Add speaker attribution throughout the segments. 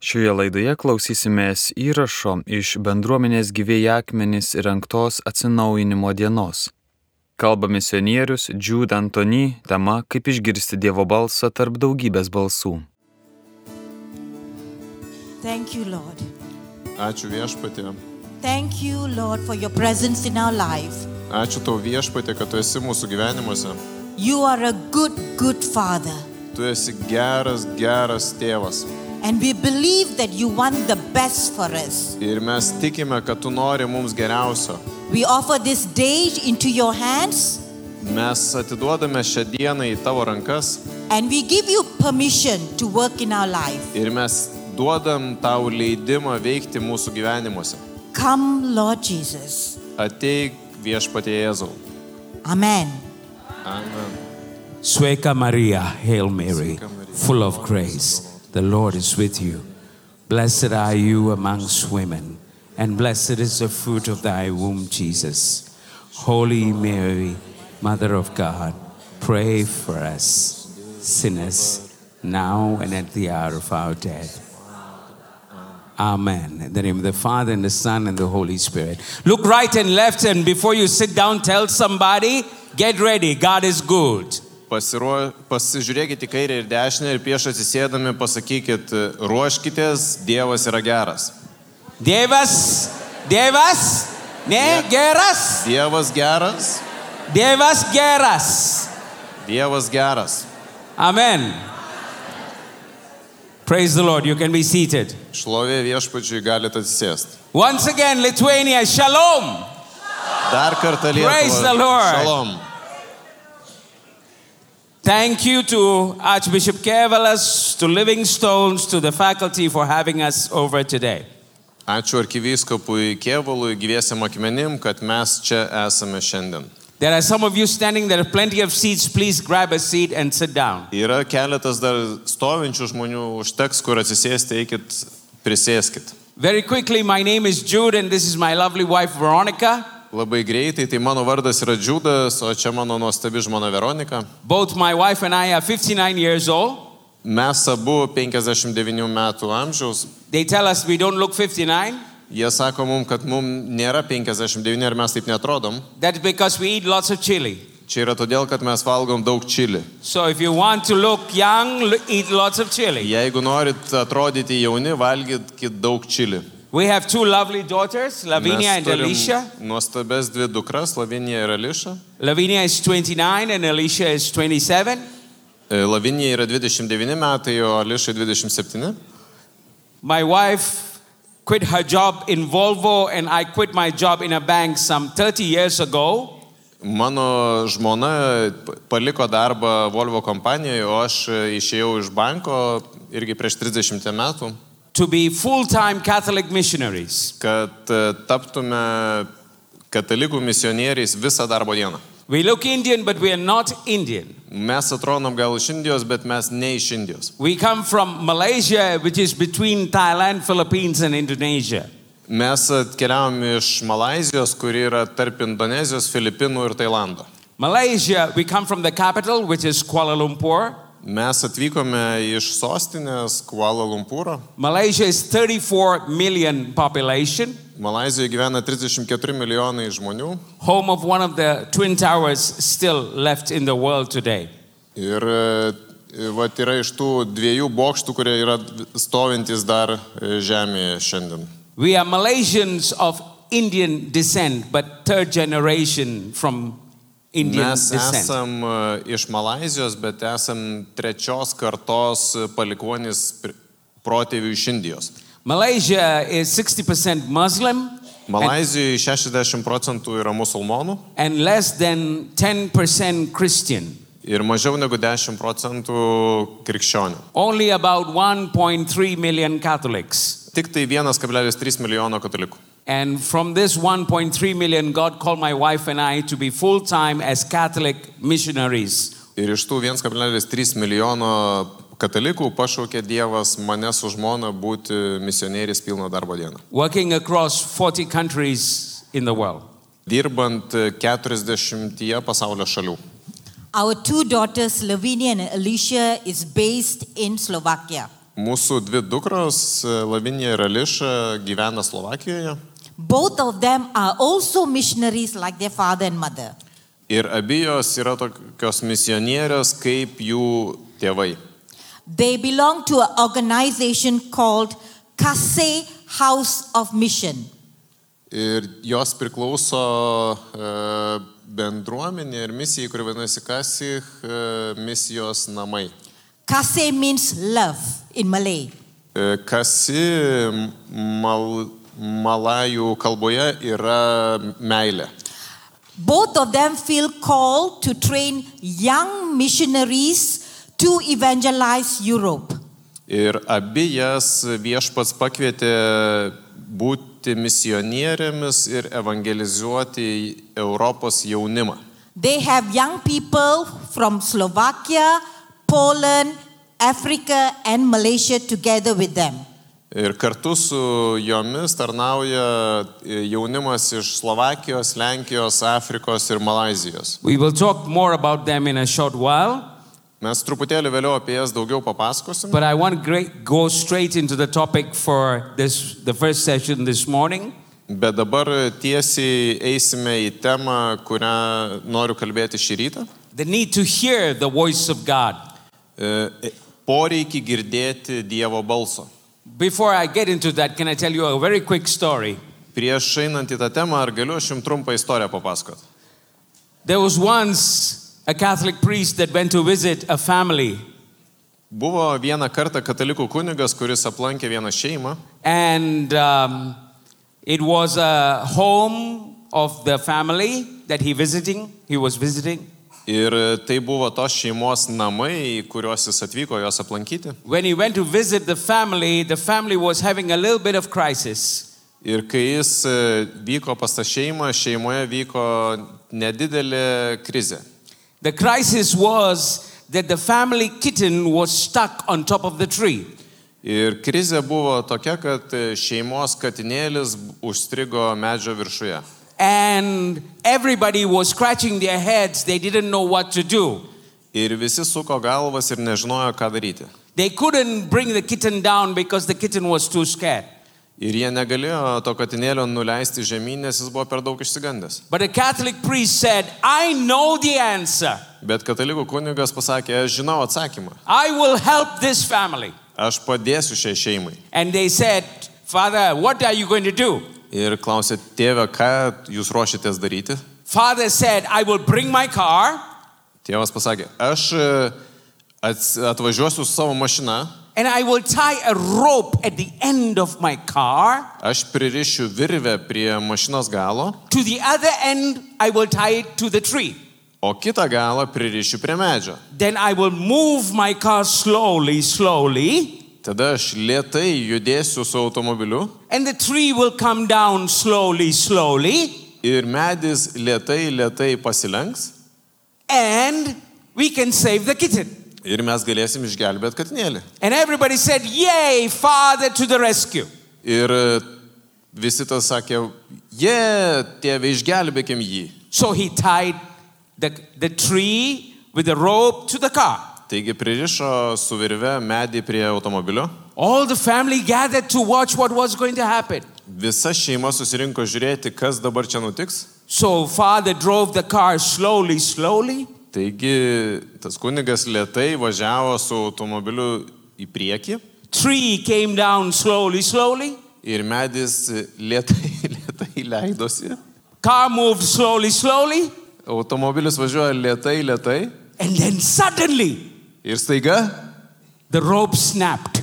Speaker 1: Šioje laidoje klausysimės įrašo iš bendruomenės gyvėjai akmenys įrengtos atsinaujinimo dienos. Kalba misionierius Džiūd Antony tema, kaip išgirsti Dievo balsą tarp daugybės balsų.
Speaker 2: Thank you, Lord.
Speaker 3: Ačiū viešpatė.
Speaker 2: Thank you, Lord, for your presence in our life.
Speaker 3: Ačiū tau viešpatė, kad tu esi mūsų gyvenimuose.
Speaker 2: You are a good, good Father.
Speaker 3: Tu esi geras, geras tėvas.
Speaker 2: And we believe that you want the best for us.
Speaker 3: Ir mes tikime, kad tu nori mums geriausio.
Speaker 2: We offer this day into your hands
Speaker 3: Mes atiduodame šią dieną į tavo rankas
Speaker 2: and we give you permission to work in our life.
Speaker 3: ir mes duodam tau leidimą veikti mūsų gyvenimuose.
Speaker 2: Come, Lord Jesus.
Speaker 3: Ateik viešpatė Jėzau.
Speaker 2: Amen.
Speaker 3: Amen.
Speaker 4: Sueca Maria, Hail Mary,
Speaker 3: Sueca Maria,
Speaker 4: full of grace, the Lord is with you. Blessed are you amongst women, and blessed is the fruit of thy womb, Jesus. Holy Mary, Mother of God, pray for us, sinners, now and at the hour of our death. Amen. In the name of the Father and the Son and the Holy Spirit. Look right and left, and before you sit down, tell somebody, get ready, God is good.
Speaker 3: Pasiruo... Pasižiūrėkit į kairę ir dešinę ir prieš atsisėdami pasakykit, ruoškitės, Dievas yra geras.
Speaker 4: Dievas, Dievas, ne geras,
Speaker 3: Dievas geras,
Speaker 4: Dievas geras.
Speaker 3: Dievas geras.
Speaker 4: Amen. Praise the Lord. You can be seated.
Speaker 3: Šlovė viešpačiui galite atsisėsti.
Speaker 4: Once again, Lithuania, shalom.
Speaker 3: Dar kartą
Speaker 4: Praise the
Speaker 3: Lietuvą.
Speaker 4: Lord.
Speaker 3: Šalom.
Speaker 4: Thank you to Archbishop Kevalas, to Living Stones, to the faculty for having us over today.
Speaker 3: Ačiū arkivyskopui Kievalui, gyviesiam akmenim, kad mes čia esame šiandien.
Speaker 4: There are some of you standing, there are plenty of seats. Please grab a seat and sit down.
Speaker 3: Yra keletas dar stovinčių žmonių, užteks kur atsisėsti, eikit, prisėskit.
Speaker 4: Very quickly, my name is Jude, and this is my lovely wife, Veronica.
Speaker 3: Labai greitai, tai mano vardas yra Džiudas, o čia mano nuostabi žmona Veronika.
Speaker 4: Both my wife and I are 59 years old.
Speaker 3: Mes abu 59 metų amžiaus.
Speaker 4: They tell us we don't look 59.
Speaker 3: Jie sako mums, kad mums nėra 59 ir mes taip netrodom.
Speaker 4: That's because we eat lots of chili.
Speaker 3: Čia yra todėl, kad mes valgom daug čili.
Speaker 4: So if you want to look young, l- eat lots of chili.
Speaker 3: Jeigu norit atrodyti jauni, valgykit daug čili.
Speaker 4: We have two lovely daughters, Lavinia
Speaker 3: Mes
Speaker 4: and
Speaker 3: turim
Speaker 4: Alicia.
Speaker 3: Nuostabes dvi dukras, Lavinija ir Ališa.
Speaker 4: Lavinia is 29 and Alicia is 27.
Speaker 3: E, Lavinija yra 29 metai, o Ališa 27.
Speaker 4: My wife quit her job in Volvo and I quit my job in a bank some 30 years ago.
Speaker 3: Mano žmona p- paliko darbą Volvo kompanijoje, o aš e, išėjau iš banko irgi prieš 30 metų,
Speaker 4: To be full time Catholic missionaries.
Speaker 3: kad e, taptume katalikų misionieriais visą darbo dieną.
Speaker 4: We look Indian, but we are not Indian.
Speaker 3: Mes atrodom gal iš Indijos, bet mes ne iš Indijos.
Speaker 4: We come from Malaysia, which is between Thailand, Philippines, and Indonesia.
Speaker 3: Mes atkeliavom iš Malazijos, kuri yra tarp Indonezijos, Filipinų ir Tailando.
Speaker 4: Malaysia, we come from the capital, which is Kuala Lumpur.
Speaker 3: Mes atvykome iš sostinės Kuala Lumpūro.
Speaker 4: Malaysia is 34 million population,
Speaker 3: Malazijoje gyvena 34 milijonai žmonių
Speaker 4: home of one of the twin towers still left in the world today.
Speaker 3: ir e, vat, yra iš tų dviejų bokštų, kurie yra stovintys dar e, žemėje šiandien.
Speaker 4: We are Malaysians of Indian descent, but third generation from Indian
Speaker 3: Mes
Speaker 4: descent.
Speaker 3: esam e, iš Malazijos, bet esam trečios kartos e, palikuonys pri- protėvių iš Indijos.
Speaker 4: Malaysia is 60% Muslim and,
Speaker 3: Malazijoje 60 procentų yra musulmonų
Speaker 4: and less than 10% Christian.
Speaker 3: ir mažiau negu 10 procentų krikščionių.
Speaker 4: Only about 1.3 million Catholics.
Speaker 3: Tik tai 1,3 milijono katalikų.
Speaker 4: And from this 1.3 million, God called my wife and I to be full time as Catholic missionaries.
Speaker 3: Ir iš tų 1,3 milijono katalikų pašaukė Dievas mane su žmona būti misionieriais pilną darbo dieną.
Speaker 4: Working across 40 countries in the world.
Speaker 3: Dirbant 40 pasaulio šalių.
Speaker 2: Our two daughters, Lavinia and Alicia, is based in Slovakia.
Speaker 3: Mūsų dvi dukros, e, Lavinija ir Ališa, gyvena Slovakijoje
Speaker 2: Both of them are also missionaries like their father and mother.
Speaker 3: ir abi jos yra tokios misionierės kaip jų tėvai.
Speaker 2: They belong to an organization called Kase House of Mission.
Speaker 3: Ir jos priklauso e, bendruomenė ir misijai, kuri vadinasi Kasich e, misijos namai.
Speaker 2: Kase means love in Malay.
Speaker 3: E, Kasi mal, malajų kalboje yra meilė.
Speaker 2: Both of them feel called to train young missionaries to evangelize Europe.
Speaker 3: Ir abi jas viešpats pakvietė būti misionierėmis ir evangelizuoti Europos jaunimą.
Speaker 2: They have young people from Slovakia, Poland, Africa, and Malaysia together with them.
Speaker 3: Ir kartu su jomis tarnauja e, jaunimas iš Slovakijos, Lenkijos, Afrikos ir Malazijos.
Speaker 4: We will talk more about them in a short while,
Speaker 3: Mes truputėlį vėliau apie jas daugiau papasakosim,
Speaker 4: but I want to go straight into the topic for this, the first session this morning.
Speaker 3: bet dabar tiesiai eisime į temą, kurią noriu kalbėti šį rytą.
Speaker 4: The need to hear the voice of God.
Speaker 3: E, Poreikį girdėti Dievo balso.
Speaker 4: Before I get into that, can I tell you a very quick story?
Speaker 3: Prieš einant į tą temą, ar galiu aš jums trumpą istoriją papasakot?
Speaker 4: There was once a Catholic priest that went to visit a family,
Speaker 3: Buvo vieną kartą katalikų kunigas, kuris aplankė vieną šeimą
Speaker 4: and um, it was a home of the family that he visiting. He was visiting.
Speaker 3: ir tai buvo tos šeimos namai, į kuriuos jis atvyko jos aplankyti.
Speaker 4: When he went to visit the family, the family was having a little bit of crisis.
Speaker 3: Ir kai jis e, vyko pas tą šeimą, šeimoje vyko nedidelė krizė.
Speaker 4: The crisis was that the family kitten was stuck on top of the tree.
Speaker 3: Ir krizė buvo tokia, kad e, šeimos katinėlis užstrigo medžio viršuje.
Speaker 4: And everybody was scratching their heads. They didn't know what to do.
Speaker 3: Ir visi suko galvas ir nežinojo, ką daryti.
Speaker 4: They couldn't bring the kitten down because the kitten was too scared.
Speaker 3: Ir jie negalėjo to katinėlio nuleisti žemyn, nes jis buvo per daug išsigandęs.
Speaker 4: But a Catholic priest said, I know the answer.
Speaker 3: Bet katalikų kunigas pasakė, aš žinau atsakymą,
Speaker 4: I will help this family.
Speaker 3: aš padėsiu šiai šeimai.
Speaker 4: And they said, Father, what are you going to do?
Speaker 3: Ir klausė tėvę, ką jūs ruošitės daryti.
Speaker 4: Father said, I will bring my car
Speaker 3: Tėvas pasakė, aš e, ats- atvažiuosiu su savo mašina,
Speaker 4: and I will tie a rope at the end of my car.
Speaker 3: aš pririšiu virvę prie mašinos galo,
Speaker 4: To the other end, I will tie it to the tree.
Speaker 3: o kitą galą pririšiu prie medžio.
Speaker 4: Then I will move my car slowly, slowly,
Speaker 3: Tada aš lietai judėsiu su automobiliu
Speaker 4: and the tree will come down slowly, slowly.
Speaker 3: ir medis lietai, lietai pasilenks
Speaker 4: and we can save the kitten.
Speaker 3: ir mes galėsim išgelbėti katinėlį.
Speaker 4: And everybody said, Yay, Father to the rescue.
Speaker 3: Ir e, visi tas sakė, jie, tėve, išgelbėkim jį.
Speaker 4: So he tied the, the tree with a rope to the car.
Speaker 3: Taigi pririšo su virve medį prie automobilio.
Speaker 4: All the family gathered to watch what was going to happen.
Speaker 3: Visa šeima susirinko žiūrėti, kas dabar čia nutiks.
Speaker 4: So Father drove the car slowly, slowly,
Speaker 3: Taigi tas kunigas lietai važiavo su automobiliu į priekį
Speaker 4: tree came down slowly, slowly,
Speaker 3: ir medis lietai, lietai leidosi.
Speaker 4: car moved slowly, slowly,
Speaker 3: Automobilis važiuoja lietai, lietai
Speaker 4: and then suddenly
Speaker 3: ir staiga
Speaker 4: the rope snapped.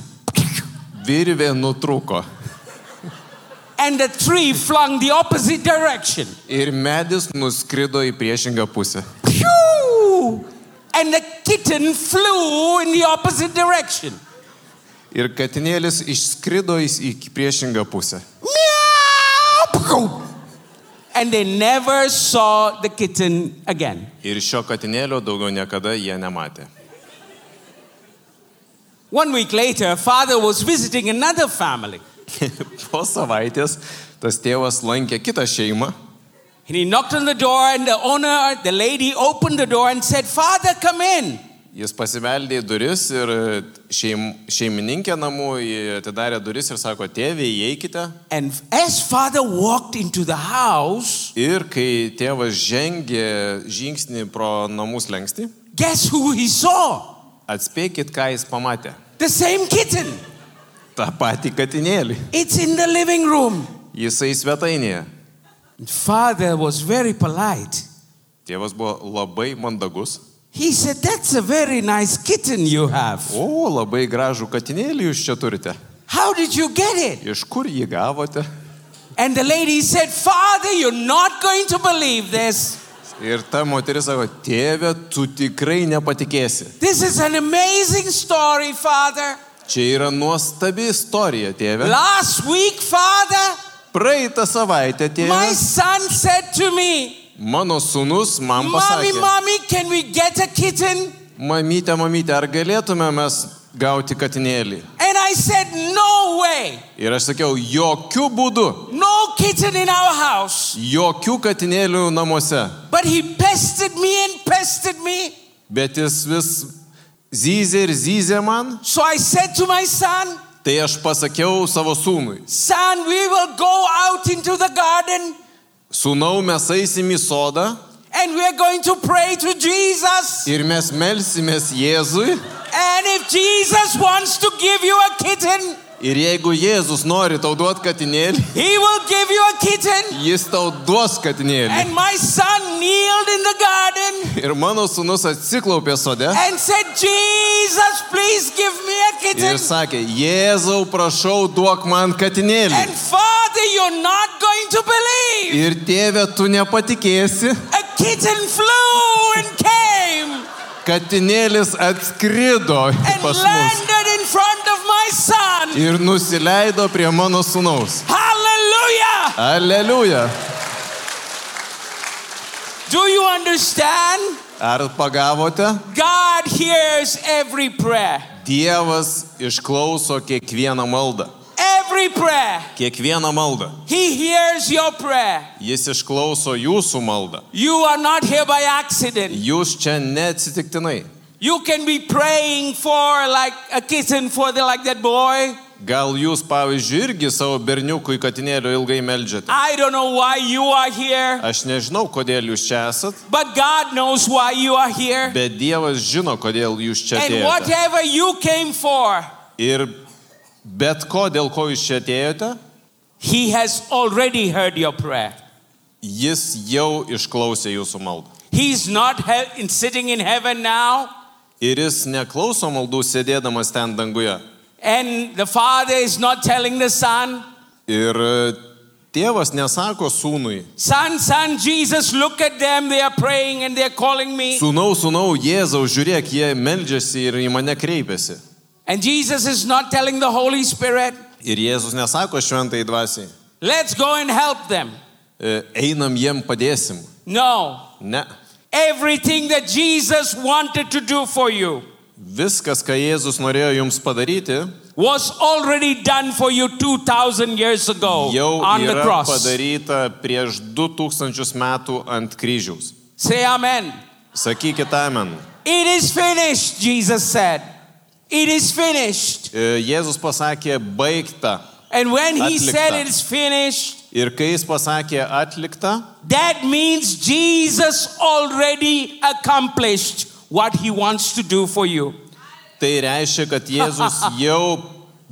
Speaker 3: virvė nutruko.
Speaker 4: And the tree flung the opposite direction.
Speaker 3: Ir medis nuskrido į priešingą pusę.
Speaker 4: Pew! And the kitten flew in the opposite direction.
Speaker 3: Ir katinėlis išskrido į į priešingą pusę.
Speaker 4: Meow! And they never saw the kitten again.
Speaker 3: Ir šio katinėlio daugiau niekada jie nematė.
Speaker 4: One week later, father was visiting another family.
Speaker 3: Po savaitės tas tėvas lankė kitą šeimą
Speaker 4: And he knocked on the door, and the owner, the lady, opened the door and said, Father, come in.
Speaker 3: Jis pasimeldė į duris ir šeim, šeimininkė namų ji atidarė duris ir sako, tėvė, įeikite.
Speaker 4: And as father walked into the house,
Speaker 3: Ir kai tėvas žengė žingsnį pro namus lengsti,
Speaker 4: guess who he saw?
Speaker 3: atspėkit, ką jis pamatė.
Speaker 4: The same kitten.
Speaker 3: Ta pati katinėlį.
Speaker 4: It's in the living room.
Speaker 3: Jisai svetainėje.
Speaker 4: Father was very polite.
Speaker 3: Tėvas buvo labai mandagus.
Speaker 4: He said, That's a very nice kitten you have.
Speaker 3: O, labai gražų katinėlį jūs čia turite.
Speaker 4: How did you get it?
Speaker 3: Iš kur jį gavote?
Speaker 4: And the lady said, Father, you're not going to believe this.
Speaker 3: Ir ta moteris sako, tėve, tu tikrai nepatikėsi.
Speaker 4: This is an amazing story, Father.
Speaker 3: Čia yra nuostabi istorija, tėve.
Speaker 4: Last week, Father,
Speaker 3: Praeitą savaitę,
Speaker 4: my
Speaker 3: tėve,
Speaker 4: son said to me,
Speaker 3: mano sunus man
Speaker 4: Mommy,
Speaker 3: pasakė,
Speaker 4: Mommy, can we get a kitten?
Speaker 3: mamyte, mamyte, ar galėtume mes gauti katinėlį?
Speaker 4: And I said, No way.
Speaker 3: Ir aš sakiau, jokių būdų,
Speaker 4: No kitten in our house.
Speaker 3: jokių katinėlių namuose.
Speaker 4: But he pestered me and pestered me.
Speaker 3: Bet jis vis zyzė ir zyzė man,
Speaker 4: So I said to my son,
Speaker 3: tai aš pasakiau savo sūnui,
Speaker 4: Son, we will go out into the garden
Speaker 3: sūnau, mes eisim į sodą
Speaker 4: and we are going to pray to Jesus.
Speaker 3: ir mes melsimės Jėzui.
Speaker 4: And if Jesus wants to give you a kitten,
Speaker 3: Ir jeigu Jėzus nori tau duoti katinėlį,
Speaker 4: he will give you a kitten.
Speaker 3: jis tau duos katinėlį.
Speaker 4: And my son kneeled in the garden
Speaker 3: Ir mano sūnus atsiklaupė sode
Speaker 4: and said, Jesus, please give me a
Speaker 3: ir
Speaker 4: kitten.
Speaker 3: sakė, Jėzau, prašau, duok man
Speaker 4: And
Speaker 3: katinėlį.
Speaker 4: Father, you're not going to believe.
Speaker 3: Ir tėve, tu nepatikėsi,
Speaker 4: A kitten flew and came
Speaker 3: katinėlis atskrido
Speaker 4: and
Speaker 3: pas mus
Speaker 4: landed in front of my son.
Speaker 3: ir nusileido prie mano sūnaus.
Speaker 4: Hallelujah!
Speaker 3: Aleliuja.
Speaker 4: Do you understand?
Speaker 3: Ar pagavote?
Speaker 4: God hears every prayer.
Speaker 3: Dievas išklauso kiekvieną maldą.
Speaker 4: Every prayer.
Speaker 3: Kiekvieną maldą.
Speaker 4: He hears your prayer.
Speaker 3: Jis išklauso jūsų maldą.
Speaker 4: You are not here by accident.
Speaker 3: Jūs čia neatsitiktinai.
Speaker 4: You can be praying for like a kitten for the like that boy.
Speaker 3: Gal jūs, pavyzdžiui, irgi savo berniukui katinėliu ilgai melžiate?
Speaker 4: I don't know why you are here,
Speaker 3: Aš nežinau, kodėl jūs čia esat,
Speaker 4: but God knows why you are here.
Speaker 3: bet Dievas žino, kodėl jūs čia
Speaker 4: And
Speaker 3: atėjote.
Speaker 4: whatever you came for,
Speaker 3: Ir bet ko, dėl ko jūs čia atėjote,
Speaker 4: He has already heard your prayer.
Speaker 3: jis jau išklausė jūsų maldą.
Speaker 4: He's not he- in sitting in heaven now,
Speaker 3: Ir jis neklauso maldų sėdėdamas ten danguje.
Speaker 4: and the Father is not telling the Son,
Speaker 3: Ir e, tėvas nesako sūnui,
Speaker 4: Son, son, Jesus, look at them. They are praying and they are calling me.
Speaker 3: sūnau, sūnau, Jėzau, žiūrėk, jie meldžiasi ir į mane kreipiasi.
Speaker 4: And Jesus is not telling the Holy Spirit,
Speaker 3: Ir Jėzus nesako šventai dvasiai,
Speaker 4: let's go and help them.
Speaker 3: e, einam jiem padėsim.
Speaker 4: No.
Speaker 3: Ne.
Speaker 4: Everything that Jesus wanted to do for you
Speaker 3: Viskas, ką Jėzus norėjo jums padaryti,
Speaker 4: was already done for you 2,000 years ago
Speaker 3: jau
Speaker 4: Oh, on the
Speaker 3: yra
Speaker 4: cross.
Speaker 3: padaryta prieš 2000 metų ant kryžiaus.
Speaker 4: Say amen.
Speaker 3: Sakykit amen.
Speaker 4: It is finished, Jesus said. It is finished.
Speaker 3: E, Jėzus pasakė baigta.
Speaker 4: And when he
Speaker 3: Atlikta.
Speaker 4: said it's finished,
Speaker 3: Ir kai jis pasakė atlikta,
Speaker 4: That means Jesus already accomplished what he wants to do for you.
Speaker 3: tai reiškia, kad Jėzus jau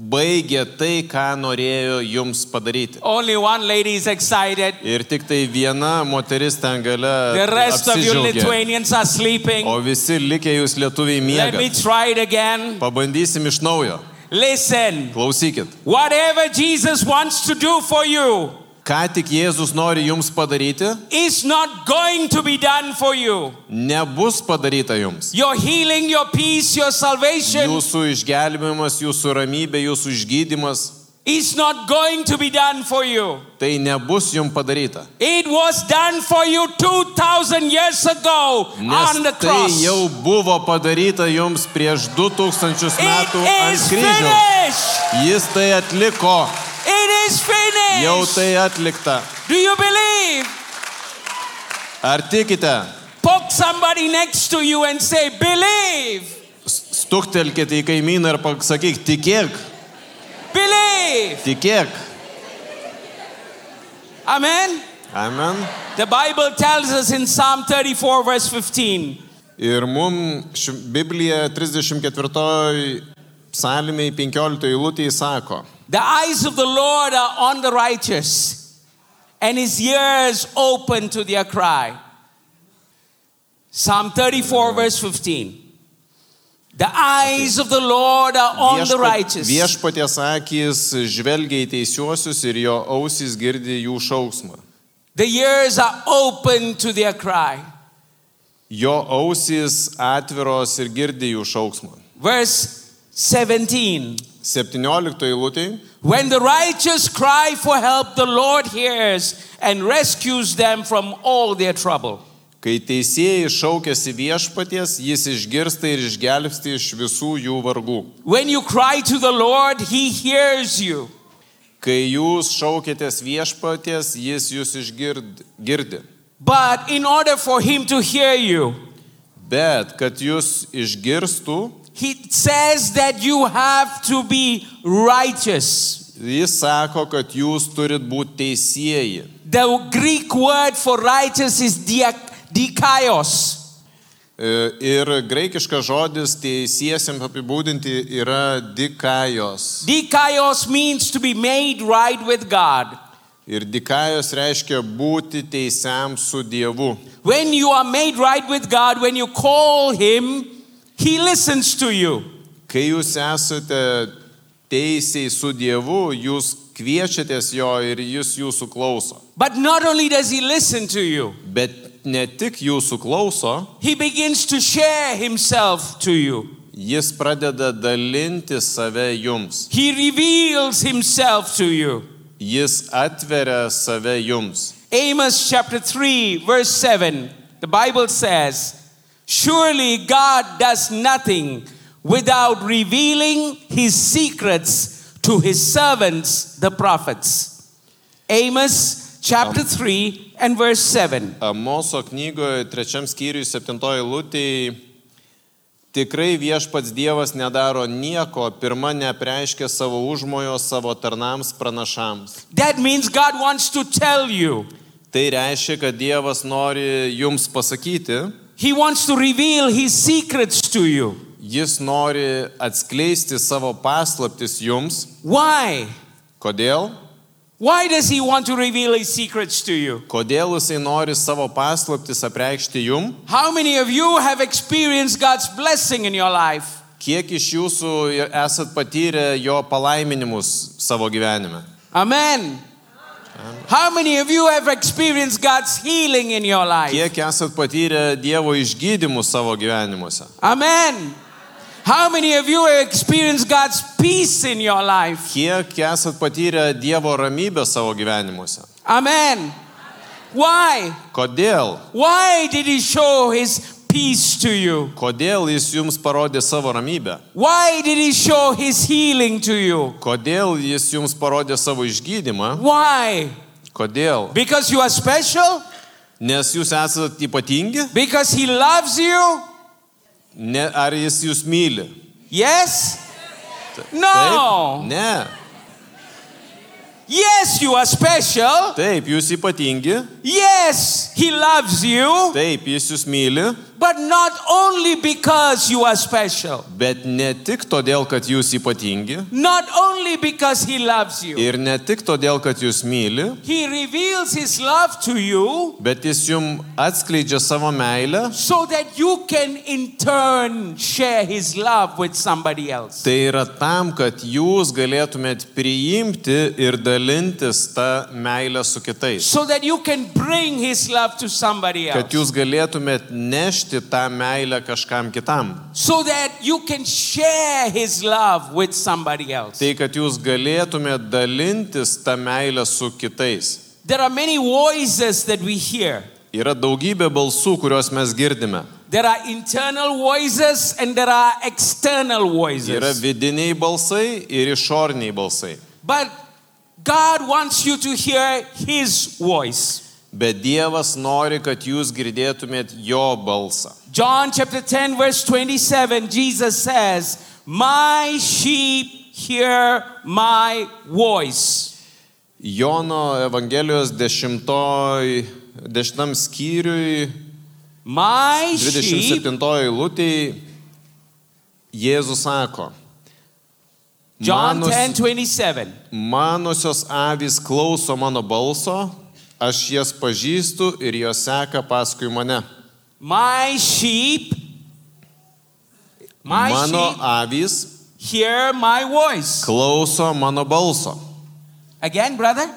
Speaker 3: baigė tai, ką norėjo jums padaryti.
Speaker 4: Only one lady is excited.
Speaker 3: Ir tik tai viena moteris ten gale.
Speaker 4: The rest of you
Speaker 3: apsidžiaugė.
Speaker 4: Lithuanians are sleeping.
Speaker 3: O visi likę jūs lietuviai
Speaker 4: Let me
Speaker 3: mėgate.
Speaker 4: try it again.
Speaker 3: Pabandysim iš naujo.
Speaker 4: Listen,
Speaker 3: Klausykit.
Speaker 4: whatever Jesus wants to do for you
Speaker 3: Ką tik Jėzus nori jums padaryti,
Speaker 4: is not going to be done for you.
Speaker 3: nebus padaryta jums.
Speaker 4: Your healing, your peace, your salvation
Speaker 3: Jūsų išgelbėjimas, jūsų ramybė, jūsų išgydymas,
Speaker 4: is not going to be done for you.
Speaker 3: tai nebus jums padaryta.
Speaker 4: It was done for you 2,000 years ago
Speaker 3: Nes
Speaker 4: on the
Speaker 3: tai
Speaker 4: cross.
Speaker 3: jau buvo padaryta jums prieš 2000 metų
Speaker 4: It
Speaker 3: ant
Speaker 4: is
Speaker 3: kryžiaus.
Speaker 4: finished.
Speaker 3: Jis tai atliko,
Speaker 4: It is finished.
Speaker 3: jau tai atlikta.
Speaker 4: Do you believe?
Speaker 3: Ar tikite?
Speaker 4: Poke somebody next next to you and say, Believe,
Speaker 3: Stuktelkite į kaimyną ir pasakyk, tikėk,
Speaker 4: believe.
Speaker 3: tikėk.
Speaker 4: Amen.
Speaker 3: Amen.
Speaker 4: The Bible tells us in Psalm 34, verse 15
Speaker 3: Ir mums Biblija 34 psalmiai 15 eilutėje sako,
Speaker 4: The eyes of the Lord are on the righteous, and his ears open to their cry. Psalm 34, verse 15. The eyes of the Lord are on the
Speaker 3: "Viešpat-
Speaker 4: righteous.
Speaker 3: viešpaties akis žvelgia į teisiuosius ir jo ausys girdi jų šauksmą.
Speaker 4: The ears are open to their cry.
Speaker 3: Jo ausys atviros ir girdi jų šauksmą.
Speaker 4: Verse 17.
Speaker 3: 17 eilutėje.
Speaker 4: When the righteous cry for help, the Lord hears and rescues them from all their trouble.
Speaker 3: Kai teisėjai šaukėsi viešpaties, jis išgirsta ir išgelbsti iš visų jų vargų.
Speaker 4: When you cry to the Lord, he hears you.
Speaker 3: Kai jūs šaukėtės viešpaties, jis jūs išgirdi.
Speaker 4: But in order for him to hear you,
Speaker 3: Bet kad jūs išgirstų,
Speaker 4: he says that you have to be righteous.
Speaker 3: jis sako, kad jūs turit būti teisėjai.
Speaker 4: The Greek word for righteous is dia- dikaios.
Speaker 3: E, Ir graikiškas žodis teisiesiam apibūdinti yra dikajos.
Speaker 4: Dikaios means to be made right with God.
Speaker 3: Ir dikajos reiškia būti teisiam su Dievu.
Speaker 4: When you are made right with God, when you call him, he listens to you.
Speaker 3: Kai jūs esate teisiai su Dievu, jūs kviečiatės jo ir jis jūsų klauso.
Speaker 4: But not only does he listen to you,
Speaker 3: Bet ne tik jūsų klauso,
Speaker 4: he begins to share himself to you.
Speaker 3: jis pradeda dalinti save jums.
Speaker 4: He reveals himself to you.
Speaker 3: Jis atveria save jums.
Speaker 4: Amos chapter 3, verse 7, the Bible says, Surely God does nothing without revealing his secrets to his servants, the prophets. Amos chapter 3 and verse 7.
Speaker 3: Amoso knygoje trečiam skyriui septintoji lūtėje tikrai viešpats Dievas nedaro nieko, pirma nepreiškia savo užmojo savo tarnams pranašams.
Speaker 4: That means God wants to tell you,
Speaker 3: Tai reiškia, kad Dievas nori jums pasakyti,
Speaker 4: He wants to reveal his secrets to you.
Speaker 3: Jis nori atskleisti savo paslaptis jums.
Speaker 4: Why?
Speaker 3: Kodėl?
Speaker 4: Why does he want to reveal his secrets to you?
Speaker 3: Kodėl jisai nori savo paslaptis apreikšti jum?
Speaker 4: How many of you have experienced God's blessing in your life?
Speaker 3: Kiek iš jūsų esat patyrę jo palaiminimus savo gyvenime?
Speaker 4: Amen. How many of you have experienced God's healing in your life?
Speaker 3: Kiek esat patyrę Dievo išgydymus savo gyvenimuose?
Speaker 4: Amen. How many of you have experienced God's peace in your life?
Speaker 3: Kiek esat patyrę Dievo ramybę savo gyvenimuose?
Speaker 4: Amen. Why?
Speaker 3: Kodėl?
Speaker 4: Why did He show His peace to you?
Speaker 3: Kodėl jis jums parodė savo ramybę?
Speaker 4: Why did He show His healing to you?
Speaker 3: Kodėl jis jums parodė savo išgydymą?
Speaker 4: Why?
Speaker 3: Kodėl?
Speaker 4: Because you are special?
Speaker 3: Nes jūs esat ypatingi?
Speaker 4: Because He loves you?
Speaker 3: Ne, ar jis jūs myli?
Speaker 4: Yes?
Speaker 3: Taip?
Speaker 4: No.
Speaker 3: Ne.
Speaker 4: Yes, you are special.
Speaker 3: Taip, jūs ypatingi.
Speaker 4: Yes, he loves you,
Speaker 3: Taip, jis jūs myli.
Speaker 4: but not only because you are special,
Speaker 3: Bet ne tik todėl, kad jūs ypatingi.
Speaker 4: not only because he loves you.
Speaker 3: Ir ne tik todėl, kad jūs myli.
Speaker 4: He reveals his love to you
Speaker 3: Bet jis jums atskleidžia savo meilę.
Speaker 4: so that you can in turn share his love with somebody else.
Speaker 3: Tai yra tam, kad jūs galėtumėt priimti ir dalintis tą meilę su kitais.
Speaker 4: So that you can bring his love to somebody
Speaker 3: Kad
Speaker 4: else.
Speaker 3: jūs galėtumėt nešti tą meilę kažkam kitam.
Speaker 4: So that you can share his love with somebody else.
Speaker 3: Tai, kad jūs galėtumėt dalintis tą meilę su kitais.
Speaker 4: There are many voices that we hear.
Speaker 3: Yra daugybė balsų, kuriuos mes girdime.
Speaker 4: There are internal voices and there are external voices.
Speaker 3: Yra vidiniai balsai ir išoriniai balsai.
Speaker 4: But God wants you to hear His voice.
Speaker 3: bet Dievas nori, kad jūs girdėtumėt jo balsą.
Speaker 4: John chapter 10, verse 27, Jesus says, My sheep hear my voice.
Speaker 3: Jono Evangelijos 10, 10 skyriui,
Speaker 4: My sheep,
Speaker 3: 27 eilutėje Jėzus sako,
Speaker 4: John
Speaker 3: Manus-
Speaker 4: 10, 27.
Speaker 3: manosios avys klauso mano balso, aš jas pažįstu ir jos seka paskui mane.
Speaker 4: My sheep, my
Speaker 3: Mano
Speaker 4: sheep
Speaker 3: avys
Speaker 4: hear my voice.
Speaker 3: klauso mano balso.
Speaker 4: Again, brother.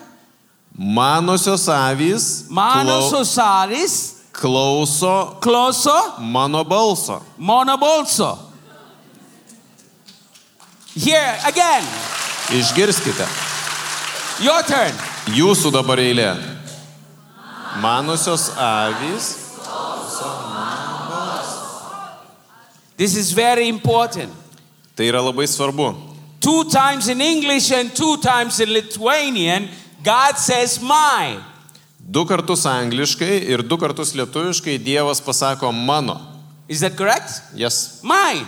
Speaker 3: Manosios avys klau-
Speaker 4: Manososaris,
Speaker 3: klauso
Speaker 4: closo,
Speaker 3: mano balso.
Speaker 4: monobolso. Here, again,
Speaker 3: Išgirskite.
Speaker 4: your turn.
Speaker 3: Jūsų dabar eilė. Manusios avys.
Speaker 4: This is very important.
Speaker 3: Tai yra labai svarbu.
Speaker 4: Two times in English and two times in Lithuanian, God says my.
Speaker 3: Du kartus angliškai ir du kartus lietuviškai Dievas pasako mano.
Speaker 4: Is that correct?
Speaker 3: Yes.
Speaker 4: Mine.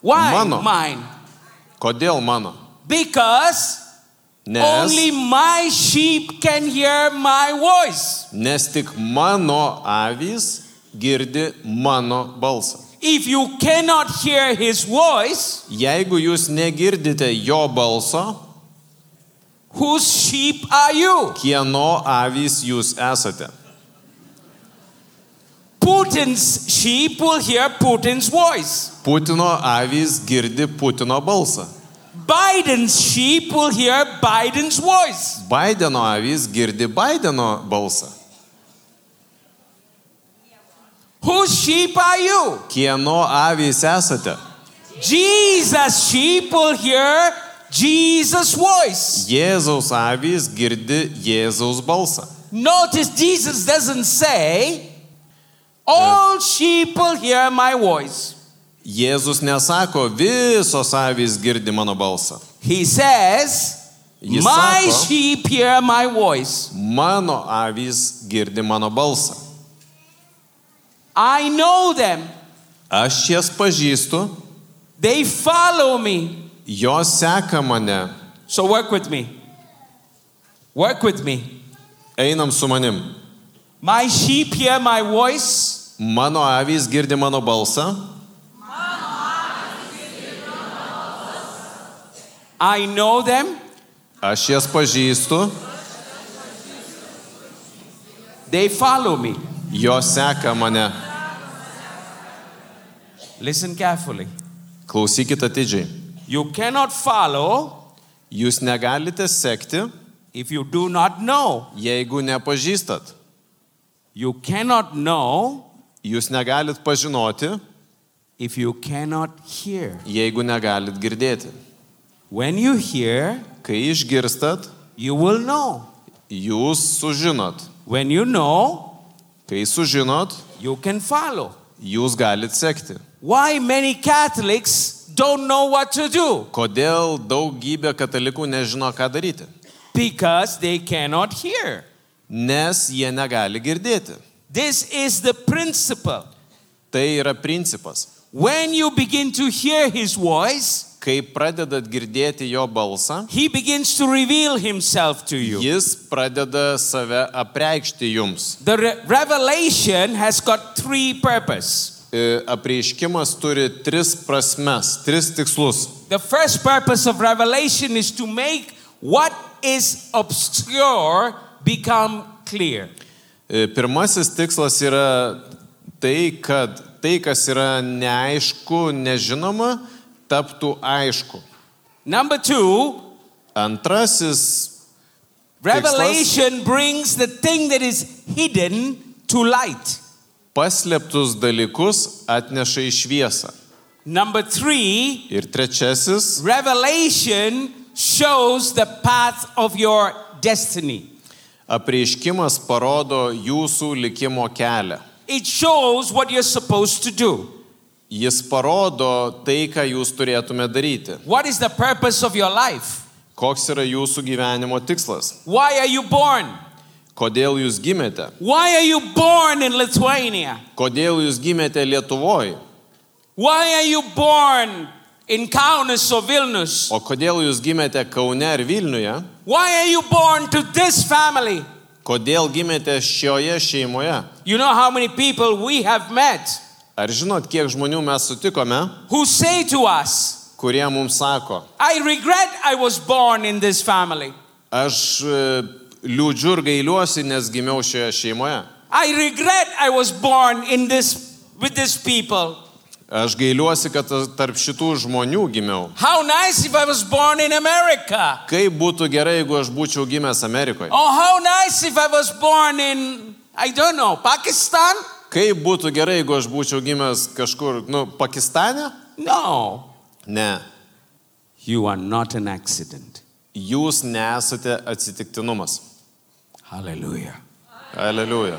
Speaker 4: Why
Speaker 3: Mano.
Speaker 4: mine?
Speaker 3: Kodėl mano?
Speaker 4: Because
Speaker 3: Nes,
Speaker 4: only my sheep can hear my voice.
Speaker 3: nes tik mano avys girdi mano balsą.
Speaker 4: If you cannot hear his voice,
Speaker 3: Jeigu jūs negirdite jo balso,
Speaker 4: whose sheep are you?
Speaker 3: kieno avys jūs esate?
Speaker 4: Putin's sheep will hear Putin's voice.
Speaker 3: Putino avys girdi Putino balsą.
Speaker 4: Biden's sheep will hear Biden's voice.
Speaker 3: Baideno avys girdi Baideno balsą.
Speaker 4: Whose sheep are you?
Speaker 3: Kieno avys esate?
Speaker 4: Jesus' sheep will hear Jesus' voice.
Speaker 3: Jėzaus avys girdi Jėzaus balsą.
Speaker 4: Notice Jesus doesn't say, All sheep will hear my voice.
Speaker 3: Jėzus nesako, visos avys girdi mano balsą.
Speaker 4: He says,
Speaker 3: Jis
Speaker 4: My
Speaker 3: sako,
Speaker 4: sheep hear my voice.
Speaker 3: mano avys girdi mano balsą.
Speaker 4: I know them,
Speaker 3: Aš jas pažįstu,
Speaker 4: they follow me.
Speaker 3: jos seka mane.
Speaker 4: So work with me. Work with me.
Speaker 3: Einam su manim.
Speaker 4: My sheep hear my voice.
Speaker 3: Mano avys girdi mano balsą.
Speaker 4: I know them.
Speaker 3: Aš jas pažįstu,
Speaker 4: They follow me.
Speaker 3: jos seka mane.
Speaker 4: Listen carefully.
Speaker 3: Klausykite atidžiai.
Speaker 4: You cannot follow
Speaker 3: Jūs negalite sekti,
Speaker 4: if you do not know.
Speaker 3: jeigu nepažįstat.
Speaker 4: You cannot know
Speaker 3: Jūs negalit pažinoti,
Speaker 4: if you cannot hear.
Speaker 3: jeigu negalit girdėti.
Speaker 4: When you hear,
Speaker 3: Kai išgirstat,
Speaker 4: you will know.
Speaker 3: jūs sužinot.
Speaker 4: When you know,
Speaker 3: Kai sužinot,
Speaker 4: you can follow.
Speaker 3: jūs galit sekti.
Speaker 4: Why many Catholics don't know what to do?
Speaker 3: Kodėl daugybė katalikų nežino, ką daryti?
Speaker 4: Because they cannot hear.
Speaker 3: Nes jie negali girdėti.
Speaker 4: This is the principle.
Speaker 3: Tai yra principas.
Speaker 4: When you begin to hear his voice,
Speaker 3: Kai pradedat girdėti jo balsą,
Speaker 4: He begins to reveal himself to you.
Speaker 3: jis pradeda save apreikšti jums.
Speaker 4: The re- revelation has got three purpose.
Speaker 3: E, Apreiškimas turi tris prasmes, tris tikslus.
Speaker 4: The first purpose of revelation is to make what is obscure become clear.
Speaker 3: E, Pirmasis tikslas yra tai, kad tai, kas yra neaišku, nežinoma, taptų aišku.
Speaker 4: Number 2,
Speaker 3: Antrasis,
Speaker 4: revelation brings the thing that is hidden to light.
Speaker 3: paslėptus dalykus atneša į šviesą.
Speaker 4: Number 3,
Speaker 3: Ir trečiasis,
Speaker 4: revelation shows the path of your destiny.
Speaker 3: apreiškimas parodo jūsų likimo kelią.
Speaker 4: It shows what you're supposed to do.
Speaker 3: Jis parodo tai, ką jūs turėtume daryti.
Speaker 4: What is the purpose of your life?
Speaker 3: Koks yra jūsų gyvenimo tikslas?
Speaker 4: Why are you born?
Speaker 3: Kodėl jūs gimėte?
Speaker 4: Why are you born in Lithuania?
Speaker 3: Kodėl jūs gimėte Lietuvoje?
Speaker 4: Why are you born in Kaunas or Vilnius?
Speaker 3: O kodėl jūs gimėte Kaune ar Vilniuje?
Speaker 4: Why are you born to this family?
Speaker 3: Kodėl gimėte šioje šeimoje?
Speaker 4: You know how many people we have met
Speaker 3: Ar žinot, kiek žmonių mes sutikome,
Speaker 4: who say to us,
Speaker 3: kurie mums sako,
Speaker 4: I regret I was born in this family.
Speaker 3: aš e, liūdžiu ir gailiuosi, nes gimiau šioje šeimoje.
Speaker 4: I regret I was born in this with this people.
Speaker 3: Aš gailiuosi, kad tas- tarp šitų žmonių gimiau.
Speaker 4: How nice if I was born in America.
Speaker 3: Kaip būtų gerai, jeigu aš būčiau gimęs Amerikoje?
Speaker 4: Or how nice if I was born in I don't know, Pakistan?
Speaker 3: Kaip būtų gerai, jeigu aš būčiau gimęs kažkur, nu, Pakistane?
Speaker 4: No.
Speaker 3: Ne.
Speaker 4: You are not an accident.
Speaker 3: Jūs nesate atsitiktinumas.
Speaker 4: Hallelujah.
Speaker 3: Aleliuja.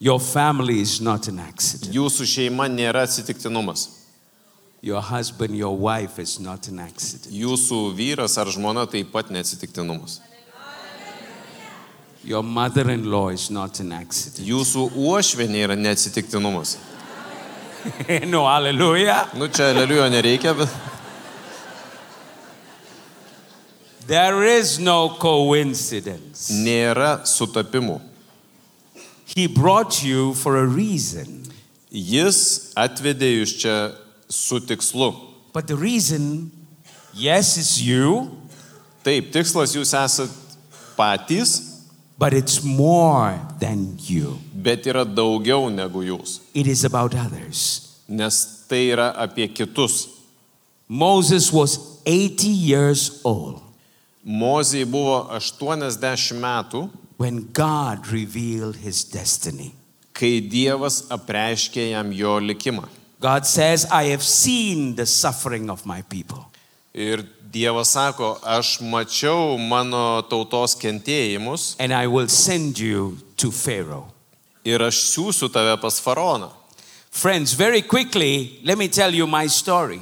Speaker 4: Your family is not an accident.
Speaker 3: Jūsų šeima nėra atsitiktinumas.
Speaker 4: Your husband, your wife is not an accident.
Speaker 3: Jūsų vyras ar žmona taip pat neatsitiktinumas.
Speaker 4: Your mother in law is not an accident.
Speaker 3: Jūsų uošvienė yra neatsitiktinumas.
Speaker 4: no, hallelujah.
Speaker 3: Nu čia aleliujo nereikia, bet
Speaker 4: There is no coincidence.
Speaker 3: nėra sutapimų.
Speaker 4: He brought you for a reason,
Speaker 3: Jis atvedė jūs čia su tikslu.
Speaker 4: but the reason, yes, it's you,
Speaker 3: Taip, tikslas jūs esat patys,
Speaker 4: but it's more than you.
Speaker 3: bet yra daugiau negu jūs.
Speaker 4: It is about others.
Speaker 3: Nes tai yra apie kitus.
Speaker 4: Moses was 80 years old
Speaker 3: Mozijai buvo 80 metų,
Speaker 4: when God revealed his destiny.
Speaker 3: kai Dievas apreiškė jam jo likimą.
Speaker 4: God says, I have seen the suffering of my people.
Speaker 3: Ir Dievas sako, aš mačiau mano tautos kentėjimus
Speaker 4: and I will send you to Pharaoh.
Speaker 3: ir aš siūsiu tave pas faraoną.
Speaker 4: Friends, very quickly, let me tell you my story.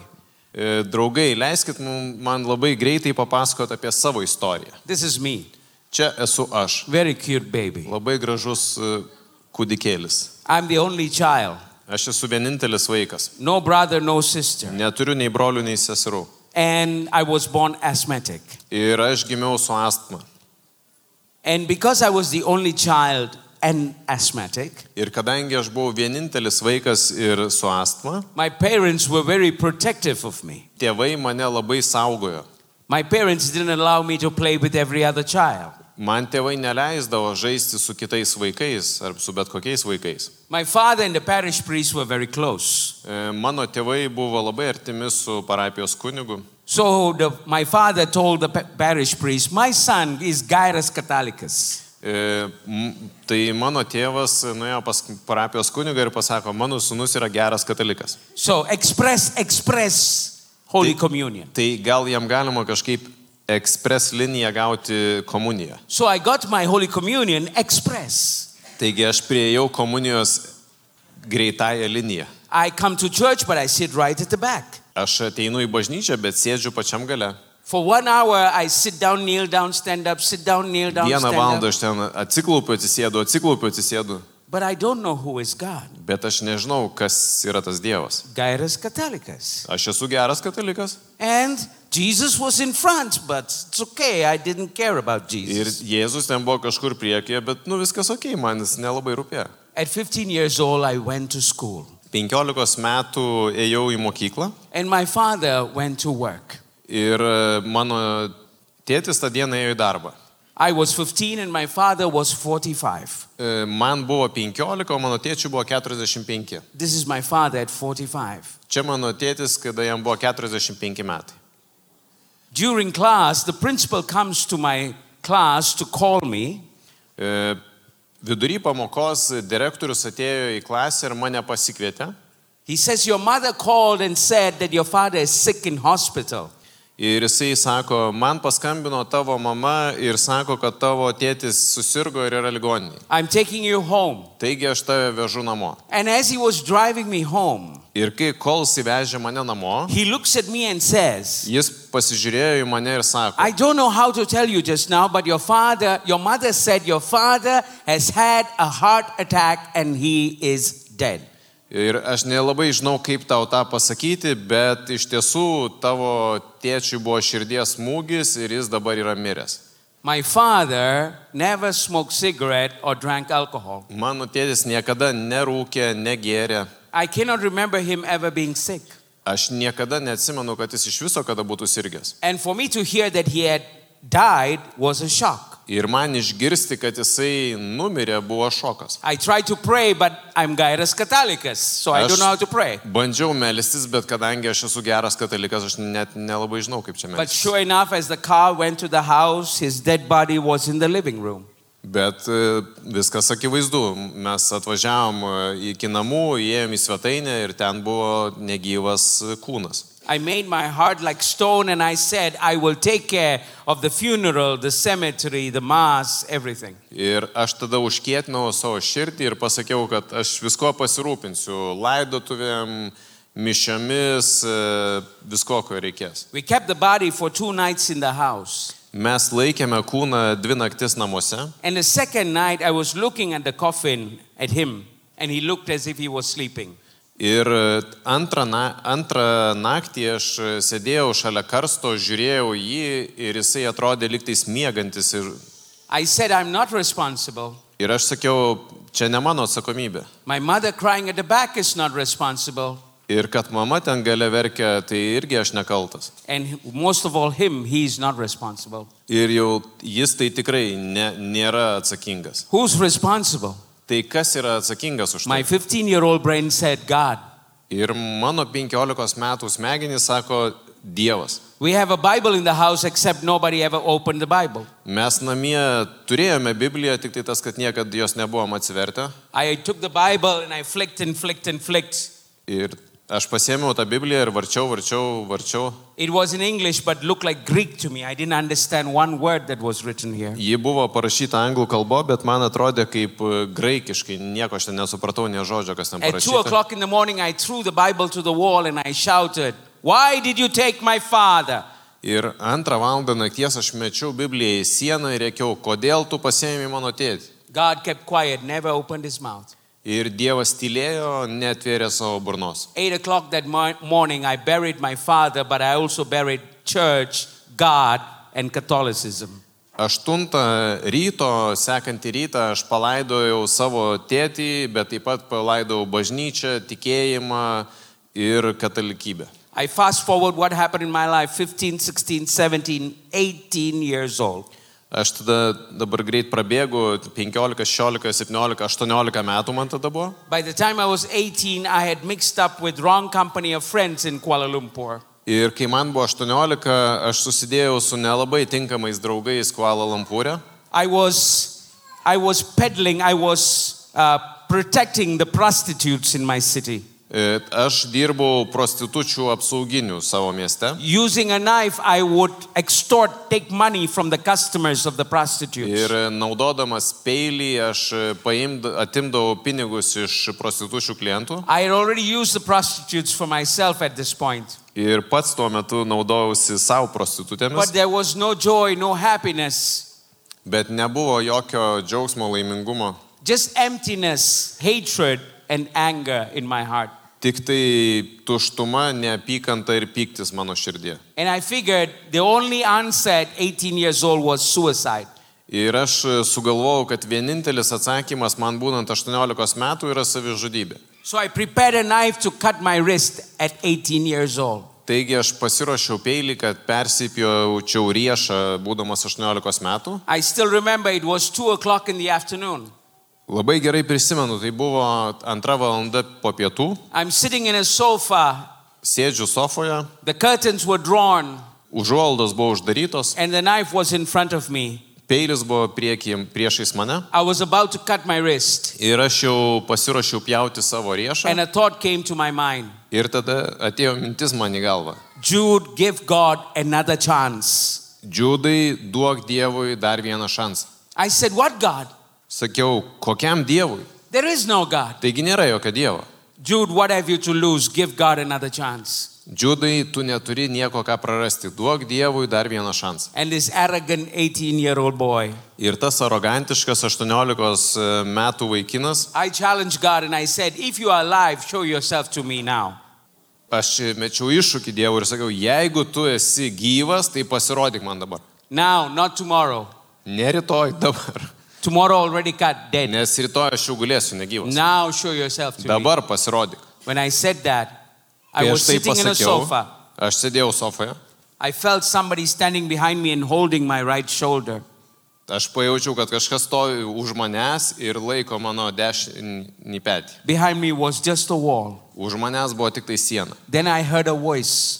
Speaker 3: E, Draugai, leiskit mum- man labai greitai papasakoti apie savo istoriją.
Speaker 4: This is me,
Speaker 3: Čia esu aš.
Speaker 4: very cute baby.
Speaker 3: Labai gražus e, kūdikėlis.
Speaker 4: I'm the only child,
Speaker 3: Aš esu vienintelis vaikas.
Speaker 4: no brother, no sister.
Speaker 3: Neturiu nei brolių, nei seserų.
Speaker 4: And I was born asthmatic.
Speaker 3: Ir aš gimiau su astma.
Speaker 4: And because I was the only child and asthmatic,
Speaker 3: Ir kadangi aš buvau vienintelis vaikas ir su astma,
Speaker 4: my parents were very protective of me.
Speaker 3: tėvai mane labai saugojo.
Speaker 4: My parents didn't allow me to play with every other child.
Speaker 3: Man tėvai neleisdavo žaisti su kitais vaikais ar su bet kokiais vaikais.
Speaker 4: My father and the parish priest were very close.
Speaker 3: E, Mano tėvai buvo labai artimi su parapijos kunigu.
Speaker 4: So the, my father told the pa- parish priest, My son is Gyrus Catholicus.
Speaker 3: E, m- Tai mano tėvas nuėjo pas parapijos kunigą ir pasako, mano sunus yra geras katalikas.
Speaker 4: So express, express Holy
Speaker 3: Ti-
Speaker 4: Communion.
Speaker 3: Tai gal jam galima kažkaip ekspres liniją gauti komuniją.
Speaker 4: So I got my Holy Communion express.
Speaker 3: Taigi aš prieėjau komunijos greitąją liniją.
Speaker 4: I come to church, but I sit right at the back.
Speaker 3: Aš ateinu į bažnyčią, bet sėdžiu pačiam gale.
Speaker 4: For one hour, I sit down, kneel down, stand up, sit down, kneel down,
Speaker 3: Vieną
Speaker 4: stand
Speaker 3: valandą
Speaker 4: up.
Speaker 3: aš ten atsiklaupiu, atsisėdu, atsiklaupiu, atsisėdu.
Speaker 4: But I don't know who is God.
Speaker 3: Bet aš nežinau, kas yra tas Dievas.
Speaker 4: Gyrus Catholicus.
Speaker 3: Aš esu geras katalikas
Speaker 4: And Jesus was in front, but it's okay. I didn't care about
Speaker 3: ir
Speaker 4: Jesus.
Speaker 3: Jėzus ten buvo kažkur priekyje, bet nu viskas ok, man jis nelabai rūpėjo.
Speaker 4: At 15 years old, I went to school.
Speaker 3: 15 metų ėjau į mokyklą
Speaker 4: And my father went to work.
Speaker 3: ir e, mano tėtis tą dieną ėjo į darbą.
Speaker 4: I was 15 and my father was 45.
Speaker 3: E, Man buvo 15, o mano tėčiui buvo 45.
Speaker 4: This is my father at 45.
Speaker 3: Čia mano tėtis, kada jam buvo 45 metai.
Speaker 4: During class, the principal comes to my class to call me
Speaker 3: E, Vidury pamokos direktorius atėjo į klasę ir mane pasikvietė.
Speaker 4: He says, Your mother called and said that your father is sick in hospital.
Speaker 3: Ir jisai sako, man paskambino tavo mama ir sako, kad tavo tėtis susirgo ir yra ligoniniai.
Speaker 4: I'm taking you home.
Speaker 3: Taigi aš tave vežu namo.
Speaker 4: And as he was driving me home,
Speaker 3: Ir kai kol įsivežė mane namo,
Speaker 4: he looks at me and says,
Speaker 3: jis pasižiūrėjo į mane ir sako,
Speaker 4: I don't know how to tell you just now, but your father, your mother said your father has had a heart attack and he is dead.
Speaker 3: ir aš nelabai žinau, kaip tau tą pasakyti, bet iš tiesų tavo tėčiui buvo širdies smūgis ir jis dabar yra miręs.
Speaker 4: My father never smoked cigarette or drank alcohol.
Speaker 3: Mano tėtis niekada nerūkė, negėrė.
Speaker 4: I cannot remember him ever being sick.
Speaker 3: Aš niekada neatsimenu, kad jis iš viso kada būtų sirgęs.
Speaker 4: And for me to hear that he had died was a shock.
Speaker 3: Ir man išgirsti, kad jisai numirė, buvo šokas.
Speaker 4: I tried to pray, but I'm Gaius Catholicus, so I
Speaker 3: Aš
Speaker 4: don't know how to pray.
Speaker 3: Bandžiau melstis, bet kadangi aš esu geras katalikas, aš net nelabai žinau, kaip čia
Speaker 4: But
Speaker 3: melstis.
Speaker 4: sure enough, as the car went to the house, his dead body was in the living room.
Speaker 3: Bet e, viskas akivaizdu. Mes atvažiavom e, iki namų, įėjom į svetainę ir ten buvo negyvas e, kūnas.
Speaker 4: I made my heart like stone and I said, I will take care of the funeral, the cemetery, the mass, everything.
Speaker 3: Ir aš tada užkėtinau savo širdį ir pasakiau, kad aš visko pasirūpinsiu. Laidotuvėm, mišiomis, e, visko, ko reikės.
Speaker 4: We kept the body for two nights in the house.
Speaker 3: Mes laikėme kūną dvi naktis namuose.
Speaker 4: And the second night, I was looking at the coffin at him, and he looked as if he was sleeping.
Speaker 3: Ir e, antrą, na, antrą naktį aš sėdėjau šalia karsto, žiūrėjau į jį ir jisai atrodė liktais miegantis. Ir,
Speaker 4: I said, I'm not responsible.
Speaker 3: ir aš sakiau, čia ne mano atsakomybė.
Speaker 4: My mother crying at the back is not responsible.
Speaker 3: Ir kad mama ten gale verkia, tai irgi aš nekaltas.
Speaker 4: And most of all, him, he's not responsible.
Speaker 3: Ir jau jis tai tikrai ne, nėra atsakingas.
Speaker 4: Who's responsible?
Speaker 3: Tai kas yra atsakingas už
Speaker 4: My
Speaker 3: tai?
Speaker 4: 15 year old brain said, God.
Speaker 3: Ir mano 15 metų smegenys sako, Dievas.
Speaker 4: We have a Bible in the house, except nobody ever opened the Bible.
Speaker 3: Mes namie turėjome Bibliją, tik tai tas, kad niekada jos nebuvom atsivertę.
Speaker 4: I took the Bible and I flicked and flicked and flicked.
Speaker 3: Ir aš pasėmiau tą Bibliją ir varčiau, varčiau, varčiau.
Speaker 4: It was in English, but looked like Greek to me. I didn't understand one word that was written here.
Speaker 3: Ji buvo parašyta anglų kalba, bet man atrodė kaip e, graikiškai, nieko aš ten nesupratau, ne žodžio, kas ten
Speaker 4: At 2
Speaker 3: parašyta.
Speaker 4: o'clock in the morning, I threw the Bible to the wall and I shouted, Why did you take my father?
Speaker 3: Ir antrą valandą nakties aš mečiau Bibliją į sieną ir rėkiau, kodėl tu pasėmė mano tėtį.
Speaker 4: God kept quiet, never opened his mouth.
Speaker 3: Ir Dievas tylėjo, netvėrė savo burnos.
Speaker 4: 8 o'clock that mor- morning, I buried my father, but I also buried church, God, and Catholicism.
Speaker 3: Aštuntą ryto, sekantį rytą, aš palaidojau savo tėtį, bet taip pat palaidojau bažnyčią, tikėjimą ir katalikybę.
Speaker 4: I fast forward what happened in my life 15, 16, 17, 18 years old.
Speaker 3: Aš tada dabar greit prabėgu 15, 16, 17, 18 metų man tada buvo.
Speaker 4: By the time I was 18, I had mixed up with wrong company of friends in Kuala Lumpur.
Speaker 3: Ir kai man buvo 18, aš susidėjau su nelabai tinkamais draugais Kuala Lampūrė.
Speaker 4: I was, I was peddling, I was uh, protecting the prostitutes in my city.
Speaker 3: E, Aš dirbau prostitučių apsauginių savo mieste.
Speaker 4: Using a knife, I would extort, take money from the customers of the prostitutes.
Speaker 3: Ir naudodamas peilį aš paimd, atimdavau pinigus iš prostitučių klientų.
Speaker 4: I had already used the prostitutes for myself at this point.
Speaker 3: Ir pats tuo metu naudojausi savo
Speaker 4: But
Speaker 3: prostitutėmis.
Speaker 4: there was no joy, no happiness,
Speaker 3: Bet nebuvo jokio džiaugsmo, laimingumo.
Speaker 4: just emptiness, hatred, and anger in my heart.
Speaker 3: Tik tai tuštuma, neapykanta ir pyktis mano širdie.
Speaker 4: And I figured the only answer at 18 years old was suicide.
Speaker 3: Ir aš sugalvojau, kad vienintelis atsakymas man būnant 18 metų yra savižudybė.
Speaker 4: So I prepared a knife to cut my wrist at 18 years old.
Speaker 3: Taigi aš pasiruošiau peilį, kad persipjaučiau riešą būdamas 18 metų.
Speaker 4: I still remember it was 2 o'clock in the afternoon.
Speaker 3: Labai gerai prisimenu, tai buvo antra valanda po pietų.
Speaker 4: I'm sitting in a sofa,
Speaker 3: Sėdžiu sofoje,
Speaker 4: the curtains were drawn,
Speaker 3: užuoldos buvo uždarytos,
Speaker 4: and the knife was in front of me.
Speaker 3: peilis buvo prieky, priešais mane.
Speaker 4: I was about to cut my wrist,
Speaker 3: Ir aš jau pasiruošiau pjauti savo riešą.
Speaker 4: and a thought came to my mind
Speaker 3: Ir tada atėjo mintis man į galvą.
Speaker 4: Jude, give God another chance.
Speaker 3: Džiūdai, duok Dievui dar vieną šansą.
Speaker 4: I said, What God?
Speaker 3: Sakiau, kokiam Dievui?
Speaker 4: There is no God.
Speaker 3: Taigi nėra jokio Dievo.
Speaker 4: Jude, what have you to lose? Give God another chance.
Speaker 3: Džiudai, tu neturi nieko ką prarasti. Duok Dievui dar vieną šansą.
Speaker 4: And this arrogant 18 year old boy,
Speaker 3: Ir tas arogantiškas 18 metų vaikinas,
Speaker 4: I challenged God and I said, If you are alive, show yourself to me now.
Speaker 3: aš mečiau iššūkį Dievui ir sakiau, jeigu tu esi gyvas, tai pasirodyk man dabar.
Speaker 4: Now, not tomorrow.
Speaker 3: Ne rytoj, dabar.
Speaker 4: Tomorrow already cut dead.
Speaker 3: Nes rytoj aš jau gulėsiu negyvas.
Speaker 4: Now show yourself to me.
Speaker 3: Dabar pasirodyk.
Speaker 4: When I said that, I
Speaker 3: Kai
Speaker 4: was
Speaker 3: aš tai
Speaker 4: sitting in a
Speaker 3: pasakiau,
Speaker 4: sofa.
Speaker 3: aš sėdėjau sofoje,
Speaker 4: I felt somebody standing behind me and holding my right shoulder.
Speaker 3: aš pajaučiau, kad kažkas stovi už manęs ir laiko mano dešinį petį.
Speaker 4: Behind me was just a wall.
Speaker 3: Už manęs buvo tik tai siena.
Speaker 4: Then I heard a voice.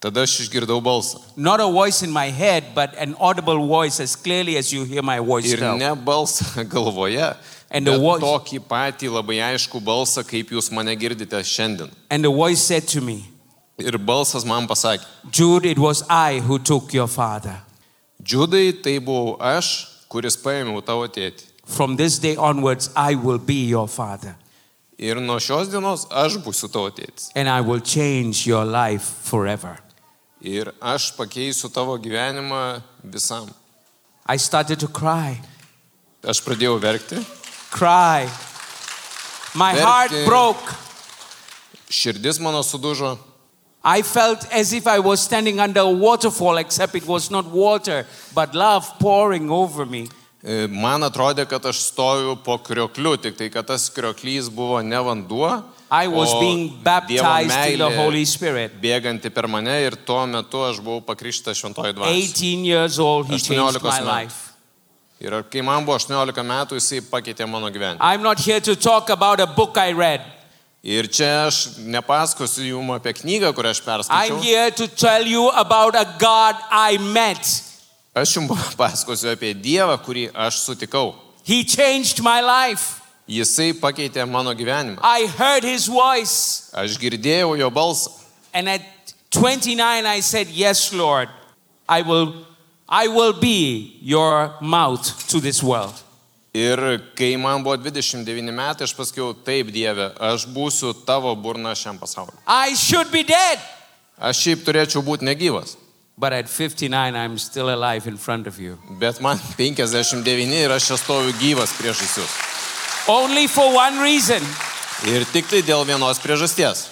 Speaker 3: Tada aš išgirdau balsą.
Speaker 4: Not a voice in my head, but an audible voice as clearly as you hear my voice
Speaker 3: Ir
Speaker 4: now.
Speaker 3: ne balsą galvoje,
Speaker 4: And the
Speaker 3: bet
Speaker 4: voice-
Speaker 3: tokį patį labai aišku balsą, kaip jūs mane girdite šiandien.
Speaker 4: And the voice said to me,
Speaker 3: Ir balsas man pasakė,
Speaker 4: Jude, it was I who took your father.
Speaker 3: Džudai, tai buvau aš, kuris paėmiau tavo tėtį.
Speaker 4: From this day onwards, I will be your father.
Speaker 3: Ir nuo šios dienos aš būsiu tavo tėtis.
Speaker 4: And I will change your life forever.
Speaker 3: Ir aš pakeisiu tavo gyvenimą visam.
Speaker 4: I started to cry.
Speaker 3: Aš pradėjau verkti,
Speaker 4: Cry. My
Speaker 3: Very
Speaker 4: heart
Speaker 3: good.
Speaker 4: broke.
Speaker 3: širdis mano sudužo,
Speaker 4: I felt as if I was standing under a waterfall, except it was not water, but love pouring over me.
Speaker 3: E, man atrodė, kad aš stoviu po kriokliu, tik tai kad tas krioklys buvo ne vanduo.
Speaker 4: I was
Speaker 3: o
Speaker 4: being
Speaker 3: Dievo
Speaker 4: baptized in the
Speaker 3: meilė
Speaker 4: Holy Spirit.
Speaker 3: Bėganti per mane ir tuo metu aš buvau pakryštas šventoji dvasia.
Speaker 4: 18 years old, he
Speaker 3: That's
Speaker 4: changed
Speaker 3: Leonardo
Speaker 4: my
Speaker 3: Cosnell.
Speaker 4: life.
Speaker 3: Ir kai man buvo 18 metų, jisai pakeitė mano gyvenimą.
Speaker 4: I'm not here to talk about a book I read.
Speaker 3: Ir čia aš nepasakosiu jums apie knygą, kurią aš
Speaker 4: I'm
Speaker 3: perskaičiau.
Speaker 4: here to tell you about a God I met.
Speaker 3: Aš jums papasakosiu apie Dievą, kurį aš sutikau.
Speaker 4: He changed my life.
Speaker 3: Jisai pakeitė mano gyvenimą.
Speaker 4: I heard his voice.
Speaker 3: Aš girdėjau jo balsą.
Speaker 4: And at 29, I said, Yes, Lord, I will, I will be your mouth to this world.
Speaker 3: Ir kai man buvo 29 metai, aš pasakiau, taip Dieve, aš būsiu tavo burna šiam pasauliu.
Speaker 4: I should be dead.
Speaker 3: Aš šiaip turėčiau būti negyvas,
Speaker 4: But at 59, I'm still alive in front of you.
Speaker 3: bet man 59 ir aš čia stoviu gyvas priešais jūs.
Speaker 4: Only for one reason
Speaker 3: Ir tik tai dėl vienos priežasties.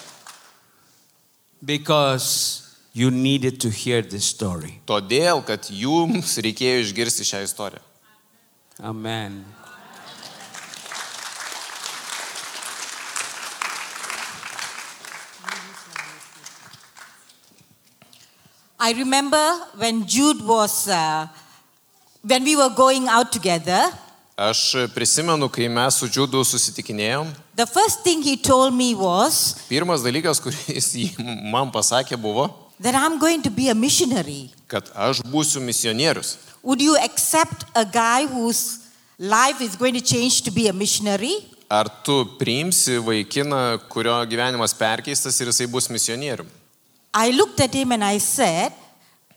Speaker 4: because you needed to hear this story.
Speaker 3: Todėl, kad jums reikėjo išgirsti šią istoriją.
Speaker 4: Amen.
Speaker 2: I remember when Jude was, uh, when we were going out together,
Speaker 3: Aš prisimenu, kai mes su Džiudu susitikinėjom,
Speaker 2: the first thing he told me was
Speaker 3: pirmas dalykas, kuris jį man pasakė, buvo,
Speaker 2: that I'm going to be a missionary.
Speaker 3: kad aš būsiu misionierius.
Speaker 2: Would you accept a guy whose life is going to change to be a missionary?
Speaker 3: Ar tu priimsi vaikiną, kurio gyvenimas perkeistas ir jisai bus misionierium?
Speaker 2: I looked at him and I said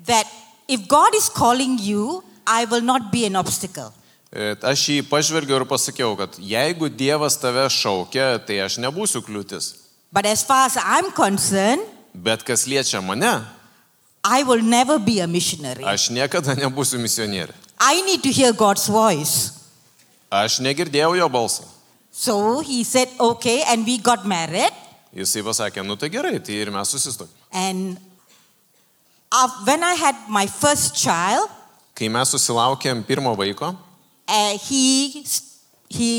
Speaker 2: that if God is calling you, I will not be an obstacle.
Speaker 3: E, Aš jį pažvelgiau ir pasakiau, kad jeigu Dievas tave šaukia, tai aš nebūsiu kliūtis.
Speaker 2: But as far as I'm concerned,
Speaker 3: Bet kas liečia mane,
Speaker 2: I will never be a missionary.
Speaker 3: aš niekada nebūsiu misionierė.
Speaker 2: I need to hear God's voice.
Speaker 3: Aš negirdėjau jo balsą.
Speaker 2: So he said, okay, and we got married.
Speaker 3: Jisai pasakė, nu tai gerai, tai ir mes susistok.
Speaker 2: And af- when I had my first child,
Speaker 3: Kai mes susilaukėm pirmo vaiko,
Speaker 2: uh, he, he,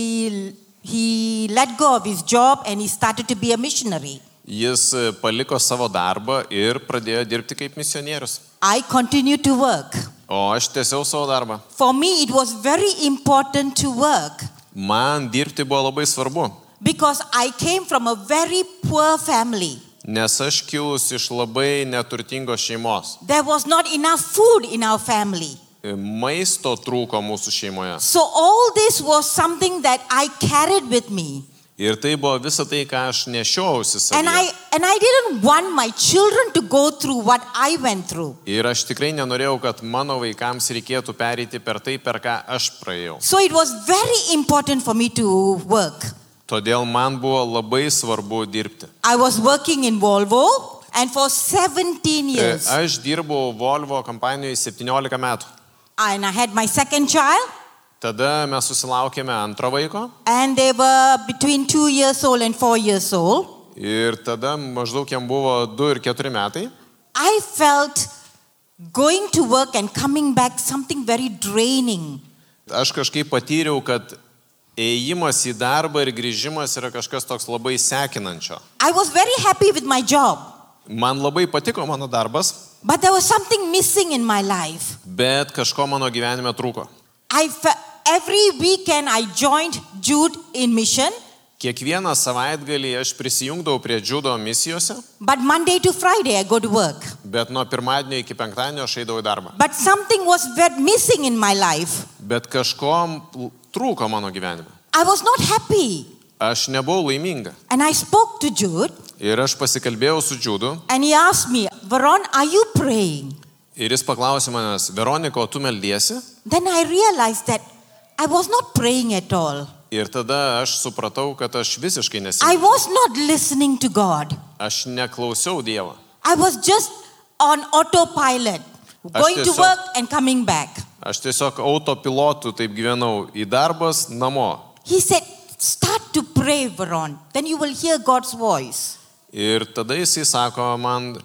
Speaker 2: he let go of his job and he started to be a missionary.
Speaker 3: jis e, paliko savo darbą ir pradėjo dirbti kaip misionierius.
Speaker 2: I continued to work.
Speaker 3: O aš tiesiau savo darbą.
Speaker 2: For me, it was very important to work
Speaker 3: Man dirbti buvo labai svarbu,
Speaker 2: because I came from a very poor family.
Speaker 3: nes aš kilus iš labai neturtingos šeimos.
Speaker 2: There was not enough food in our family.
Speaker 3: E, Maisto trūko mūsų šeimoje.
Speaker 2: So, all this was something that I carried with me.
Speaker 3: Ir tai buvo visa tai, ką aš nešiausi
Speaker 2: And I,
Speaker 3: savo.
Speaker 2: and I didn't want my children to go through what I went through.
Speaker 3: Ir aš tikrai nenorėjau, kad mano vaikams reikėtų pereiti per tai, per ką aš praėjau.
Speaker 2: So, it was very important for me to work.
Speaker 3: Todėl man buvo labai svarbu dirbti.
Speaker 2: I was working in Volvo and for 17
Speaker 3: E,
Speaker 2: years.
Speaker 3: Aš dirbau Volvo kompanijoje 17 metų.
Speaker 2: and I had my second child,
Speaker 3: Tada mes susilaukėme antro vaiko
Speaker 2: and they were between two years old and four years old.
Speaker 3: ir tada maždaug jam buvo 2 ir 4 metai.
Speaker 2: I felt going to work and coming back something very draining.
Speaker 3: Aš kažkaip patyriau, kad ėjimas į darbą ir grįžimas yra kažkas toks labai sekinančio.
Speaker 2: I was very happy with my job,
Speaker 3: Man labai patiko mano darbas,
Speaker 2: but there was something missing in my life.
Speaker 3: bet kažko mano gyvenime trūko.
Speaker 2: I fe- every weekend I joined Jude in mission,
Speaker 3: Kiekvieną savaitgalį aš prisijungdavau prie džudo misijose,
Speaker 2: but Monday to Friday I go to work.
Speaker 3: bet nuo pirmadienio iki penktadienio aš eidavau į darbą.
Speaker 2: But something was ve- missing in my life.
Speaker 3: Bet kažko l- trūko mano gyvenime.
Speaker 2: I was not happy.
Speaker 3: Aš nebuvau laiminga.
Speaker 2: And I spoke to Jude,
Speaker 3: Ir aš pasikalbėjau su džudu
Speaker 2: and he asked me, Varon, are you praying?
Speaker 3: ir jis paklausė manęs, Veronika, o tu meldiesi?
Speaker 2: Then I realized that I was not praying at all.
Speaker 3: Ir tada aš supratau, kad aš visiškai
Speaker 2: I
Speaker 3: nesimėgau.
Speaker 2: was not listening to God.
Speaker 3: Aš neklausiau Dievo.
Speaker 2: I was just on autopilot, going to
Speaker 3: tiesiog-
Speaker 2: work and coming back.
Speaker 3: Aš tiesiog autopilotų taip gyvenau į darbas, namo.
Speaker 2: He said, Start to pray, Varon. Then you will hear God's voice.
Speaker 3: Ir tada jisai sako man,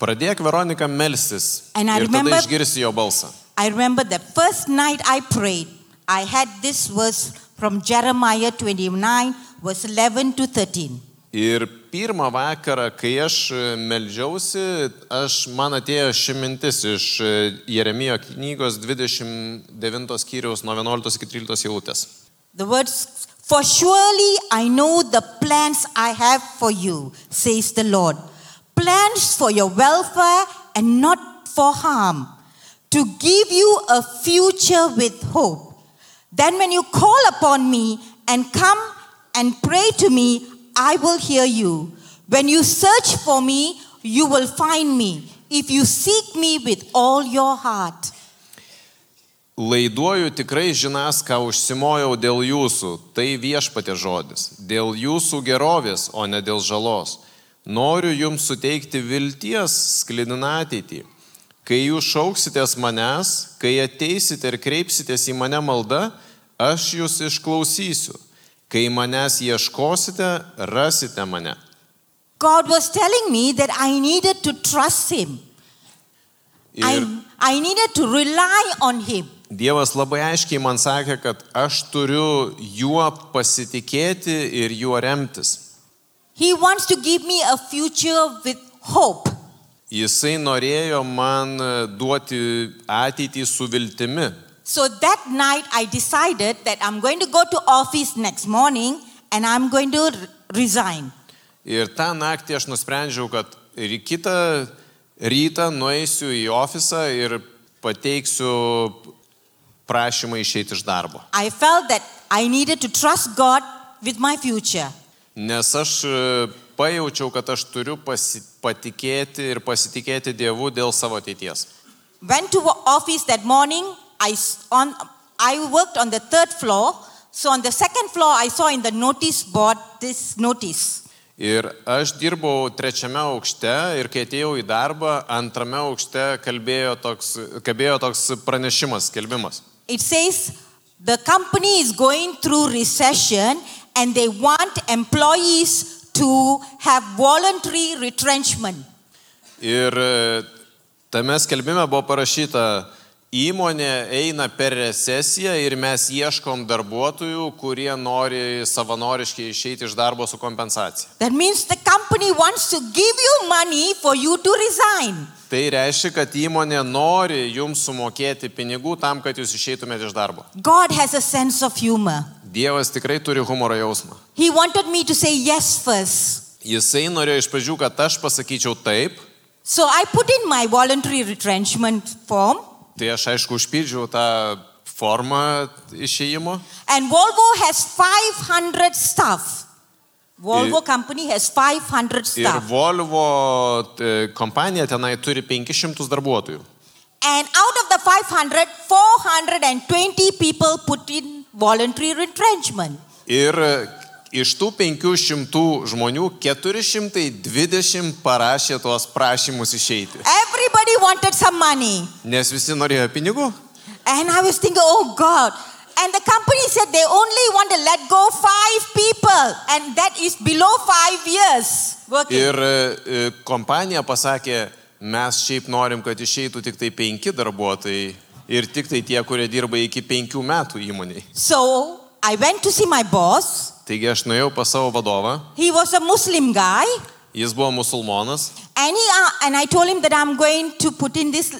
Speaker 3: pradėk Veronika melstis.
Speaker 2: And I
Speaker 3: ir tada
Speaker 2: remember-
Speaker 3: išgirsi jo balsą.
Speaker 2: I remember the first night I prayed, I had this verse from Jeremiah 29, verse 11 to 13.
Speaker 3: Ir pirmą vakarą, kai aš melžiausi, aš, man atėjo ši mintis iš e, Jeremijo knygos 29 skyriaus nuo 11 iki 13 eilutės.
Speaker 2: The words, For surely I know the plans I have for you, says the Lord. Plans for your welfare and not for harm, to give you a future with hope. Then when you call upon me and come and pray to me, I will hear you. When you search for me, you will find me, if you seek me with all your heart.
Speaker 3: Laiduoju tikrai žinas, ką užsimojau dėl jūsų, tai viešpatė žodis, dėl jūsų gerovės, o ne dėl žalos. Noriu jums suteikti vilties sklidinę ateitį. Kai jūs šauksitės manęs, kai ateisite ir kreipsitės į mane maldą, aš jūs išklausysiu. Kai manęs ieškosite, rasite mane.
Speaker 2: God was telling me that I needed to trust Him.
Speaker 3: Ir
Speaker 2: I, I needed to rely on him.
Speaker 3: Dievas labai aiškiai man sakė, kad aš turiu juo pasitikėti ir juo remtis.
Speaker 2: He wants to give me a future with hope.
Speaker 3: Jisai norėjo man e, duoti ateitį su viltimi.
Speaker 2: So that night I decided that I'm going to go to office next morning and I'm going to re- resign.
Speaker 3: Ir tą naktį aš nusprendžiau, kad ir kitą rytą nueisiu į ofisą ir pateiksiu prašymą išeiti iš darbo.
Speaker 2: I felt that I needed to trust God with my future.
Speaker 3: Nes aš e, pajaučiau, kad aš turiu pasi- patikėti ir pasitikėti Dievu dėl savo ateities.
Speaker 2: Went to wo- office that morning. I s- on I worked on the third floor. So on the second floor I saw in the notice board this notice.
Speaker 3: Ir aš dirbau trečiame aukšte ir kai atėjau į darbą, antrame aukšte kalbėjo toks, kalbėjo toks pranešimas, skelbimas.
Speaker 2: It says the company is going through recession and they want employees to have voluntary retrenchment.
Speaker 3: Ir e, tame skelbime buvo parašyta, įmonė eina per recesiją ir mes ieškom darbuotojų, kurie nori savanoriškai išeiti iš darbo su kompensacija.
Speaker 2: That means the company wants to give you money for you to resign.
Speaker 3: Tai reiškia, kad įmonė nori jums sumokėti pinigų tam, kad jūs išeitumėte iš darbo.
Speaker 2: God has a sense of humor.
Speaker 3: Dievas tikrai turi humoro jausmą.
Speaker 2: He wanted me to say yes first.
Speaker 3: Jisai norėjo iš pradžių, kad aš pasakyčiau taip,
Speaker 2: So I put in my voluntary retrenchment form,
Speaker 3: tai aš aišku užpildžiau tą formą išėjimo.
Speaker 2: and Volvo has 500 staff. Volvo company has 500
Speaker 3: Ir
Speaker 2: staff.
Speaker 3: Volvo e, kompanija tenai turi 500 darbuotojų.
Speaker 2: And out of the 500, 420 people put in voluntary retrenchment.
Speaker 3: Ir e, Iš tų 500 žmonių 420 parašė tuos prašymus išeiti.
Speaker 2: Everybody wanted some money.
Speaker 3: Nes visi norėjo pinigų.
Speaker 2: And I was thinking, oh God. And the company said they only want to let go five people, and that is below five years working.
Speaker 3: Ir e, kompanija pasakė, mes šiaip norim, kad išeitų tik tai penki darbuotojai ir tik tai tie, kurie dirba iki penkių metų įmoniai.
Speaker 2: So I went to see my boss.
Speaker 3: Taigi aš nuėjau pas savo vadovą,
Speaker 2: He was a Muslim guy,
Speaker 3: jis buvo musulmonas
Speaker 2: and, he, uh, and I told him that I'm going to put in this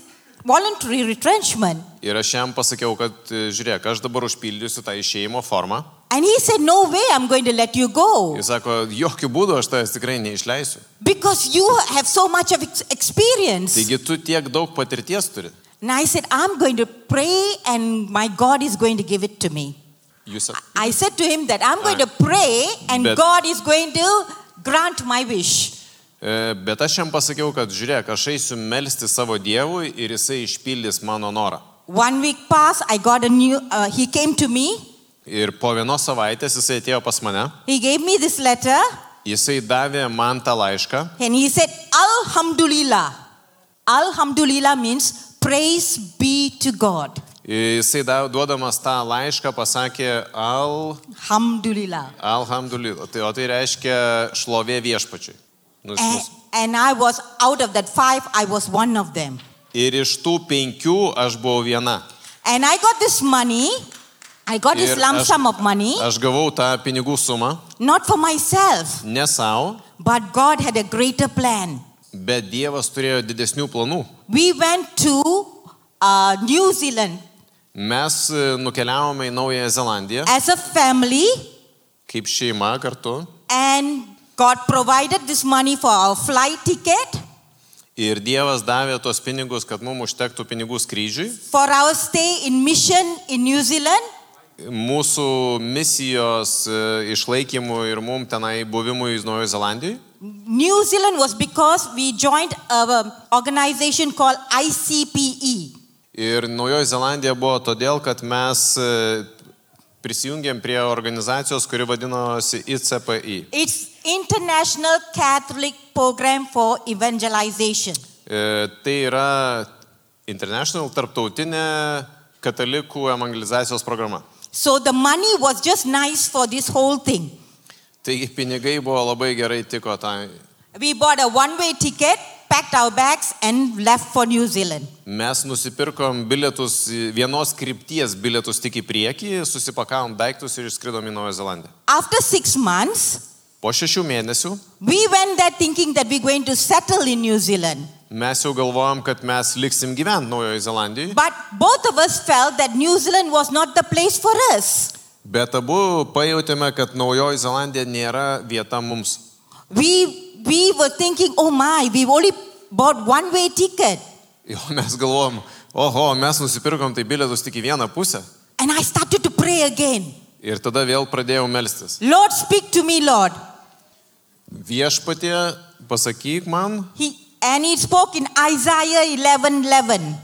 Speaker 2: voluntary retrenchment.
Speaker 3: ir aš jam pasakiau, kad e, žiūrėk, aš dabar užpildysiu tą išėjimo formą.
Speaker 2: And he said, No way, I'm going to let you go.
Speaker 3: Jis sako, jokių būdų aš tavęs tikrai neišleisiu.
Speaker 2: Because you have so much of ex- experience.
Speaker 3: Taigi tu tiek daug patirties turi.
Speaker 2: And I said, I'm going to pray, and my God is going to give it to me.
Speaker 3: Jūs...
Speaker 2: I said to him that I'm going to pray, and
Speaker 3: Bet-
Speaker 2: God is going to grant my wish.
Speaker 3: E, Bet aš jam pasakiau, kad žiūrėk, aš eisiu melsti savo Dievui ir jisai išpildys mano norą.
Speaker 2: One week passed, I got a new, uh, he came to me,
Speaker 3: Ir po vienos savaitės jisai atėjo pas mane,
Speaker 2: he gave me this letter,
Speaker 3: jisai davė man tą laišką
Speaker 2: and he said, Alhamdulillah. Alhamdulillah means praise be to God.
Speaker 3: ir jisai da- duodamas tą laišką pasakė al,
Speaker 2: Alhamdulillah.
Speaker 3: alhamdulillah, tai, o tai reiškia šlovė viešpačiui. Nu, iš
Speaker 2: And,
Speaker 3: mūsų.
Speaker 2: and I was out of that five, I was one of them.
Speaker 3: ir iš tų penkių aš buvau viena.
Speaker 2: And I got this money, I got this
Speaker 3: Ir
Speaker 2: lump
Speaker 3: aš-
Speaker 2: sum of money,
Speaker 3: Aš gavau tą pinigų sumą
Speaker 2: not for myself,
Speaker 3: ne savo,
Speaker 2: but God had a greater plan.
Speaker 3: bet Dievas turėjo didesnių planų.
Speaker 2: We went to uh, New Zealand
Speaker 3: Mes e, nukeliavome į Naująją Zelandiją
Speaker 2: as a family,
Speaker 3: kaip šeima kartu
Speaker 2: and God provided this money for our flight ticket,
Speaker 3: ir Dievas davė tos pinigus, kad mums užtektų pinigų skrydžiui.
Speaker 2: for our stay in mission in New Zealand,
Speaker 3: mūsų misijos e, išlaikymui ir mum tenai buvimui Naujojo Zelandijoje.
Speaker 2: New Zealand was because we joined an organization called ICPE.
Speaker 3: Ir Naujojo Zelandija buvo todėl, kad mes e, prisijungėm prie organizacijos, kuri vadinosi ICPI.
Speaker 2: It's International Catholic Program for Evangelization.
Speaker 3: E, Tai yra International tarptautinė katalikų evangelizacijos programa.
Speaker 2: So the money was just nice for this whole thing.
Speaker 3: Taigi pinigai buvo labai gerai tiko tai.
Speaker 2: We bought a one way ticket, packed our bags, and left for New Zealand.
Speaker 3: Mes nusipirkom bilietus, į- vienos krypties bilietus tik į priekį, susipakavom daiktus ir išskridom į Naują Zelandiją.
Speaker 2: After six months,
Speaker 3: Po šešių mėnesių
Speaker 2: we went there thinking that we're going to settle in New Zealand.
Speaker 3: Mes jau galvojom, kad mes liksim gyventi Naujojo Zelandijoje,
Speaker 2: But both of us felt that New Zealand was not the place for us.
Speaker 3: bet abu pajutėme, kad Naujojo Zelandija nėra vieta mums.
Speaker 2: We, we were thinking, oh my, we've only bought one way ticket.
Speaker 3: Jo mes galvojom, oho, mes nusipirkom tai bilietus tik į vieną pusę.
Speaker 2: And I started to pray again.
Speaker 3: Ir tada vėl pradėjau melstis.
Speaker 2: Lord, speak to me, Lord.
Speaker 3: Viešpatie, pasakyk man.
Speaker 2: He, and he spoke in Isaiah 11 11.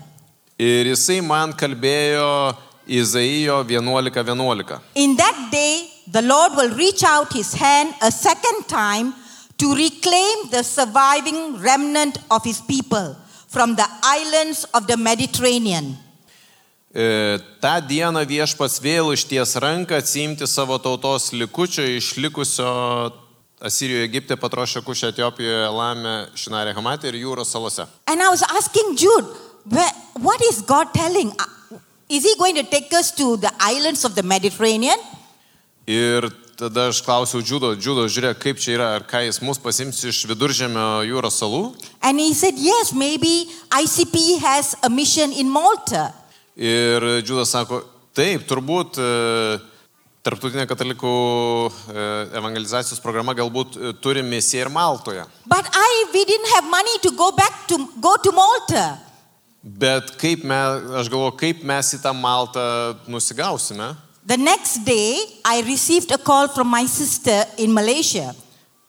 Speaker 3: Ir jisai man kalbėjo Izaijo 11.11.
Speaker 2: In that day, the Lord will reach out his hand a second time to reclaim the surviving remnant of his people from the islands of the Mediterranean.
Speaker 3: E, tą dieną viešpats vėl išties ranką atsiimti savo tautos likučio išlikusio Asirijoje, Egipte, Patrošė, Kušė, Etiopijoje, Lame, Šinarė, Hamatė ir jūros salose.
Speaker 2: And I was asking Jude, where, what is God telling? Uh, Is he going to take us to the islands of the Mediterranean?
Speaker 3: Ir tada aš klausiau Džudo, Džudo, žiūrėk, kaip čia yra, ar ką jis mus pasims iš viduržėmio jūros salų.
Speaker 2: And he said, yes, maybe ICP has a mission in Malta.
Speaker 3: Ir Džudas sako, taip, turbūt e, Tarptautinė katalikų e, evangelizacijos programa galbūt e, turi misiją ir Maltoje.
Speaker 2: But I, we didn't have money to go back to, go to Malta.
Speaker 3: Bet kaip mes, aš galvoju, kaip mes į tą Maltą nusigausime.
Speaker 2: The next day, I received a call from my sister in Malaysia.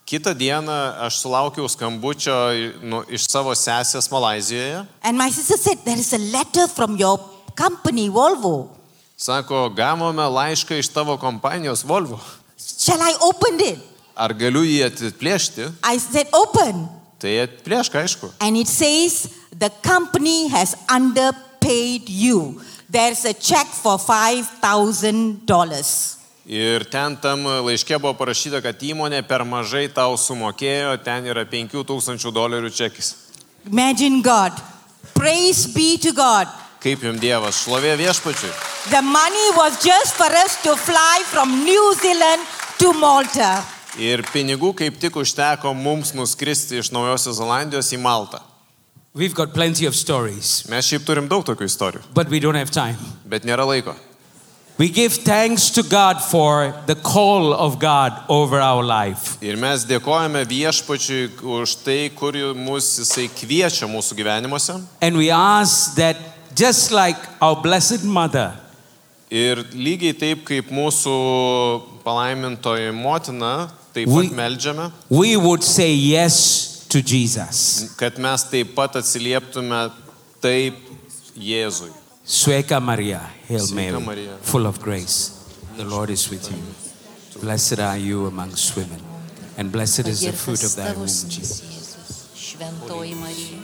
Speaker 3: Kita diena aš sulaukiau skambučio i- nu, iš savo sesės Malazijoje.
Speaker 2: And my sister said, There is a letter from your company, Volvo.
Speaker 3: Sako, gavome laišką iš tavo kompanijos Volvo.
Speaker 2: Shall I open it?
Speaker 3: Ar galiu jį atplėšti?
Speaker 2: I said, Open.
Speaker 3: Tai atplėšk, aišku.
Speaker 2: And it says, The company has underpaid you. There's a check for $5,000.
Speaker 3: Ir ten tam laiške buvo parašyta, kad įmonė per mažai tau sumokėjo, ten yra 5000 dolerių čekis.
Speaker 2: Imagine God. Praise be to God.
Speaker 3: Kaip jums Dievas, šlovė viešpačiui.
Speaker 2: The money was just for us to fly from New Zealand to Malta.
Speaker 3: Ir pinigų kaip tik užteko mums nuskristi iš Naujosios Zelandijos į Maltą.
Speaker 4: We've got plenty of stories,
Speaker 3: Mes šiaip turim daug tokių istorijų,
Speaker 4: but we don't have time.
Speaker 3: bet nėra laiko.
Speaker 4: We give thanks to God for the call of God over our life.
Speaker 3: Ir mes dėkojame viešpačiui už tai, kur mus jisai kviečia mūsų gyvenimuose.
Speaker 4: And we ask that just like our Blessed Mother,
Speaker 3: Ir lygiai taip kaip mūsų palaimintoji motina, taip
Speaker 4: Ui.
Speaker 3: pat melžiame,
Speaker 4: we would say yes to Jesus.
Speaker 3: kad mes taip pat atsilieptume taip Jėzui.
Speaker 4: Sueca Maria, Hail
Speaker 3: Sueca
Speaker 4: Mary,
Speaker 3: Maria.
Speaker 4: full of grace. The Lord is with you. Blessed are you amongst women, and blessed is the fruit of thy womb,
Speaker 5: tavus
Speaker 4: Jesus.
Speaker 5: Jėzus. Šventoji Marija,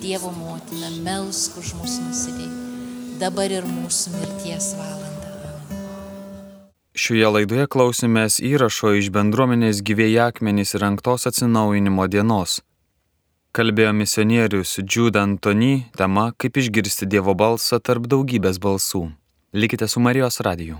Speaker 5: Dievo motina, melsk už mūsų nusidėjimą, dabar ir mūsų mirties valandą. Amen.
Speaker 1: Šioje laidoje klausėmės įrašo iš bendruomenės gyvėjai akmenys ir anktos atsinaujinimo dienos. Kalbėjo misionierius Džiūda Antony tema, kaip išgirsti Dievo balsą tarp daugybės balsų. Likite su Marijos radiju.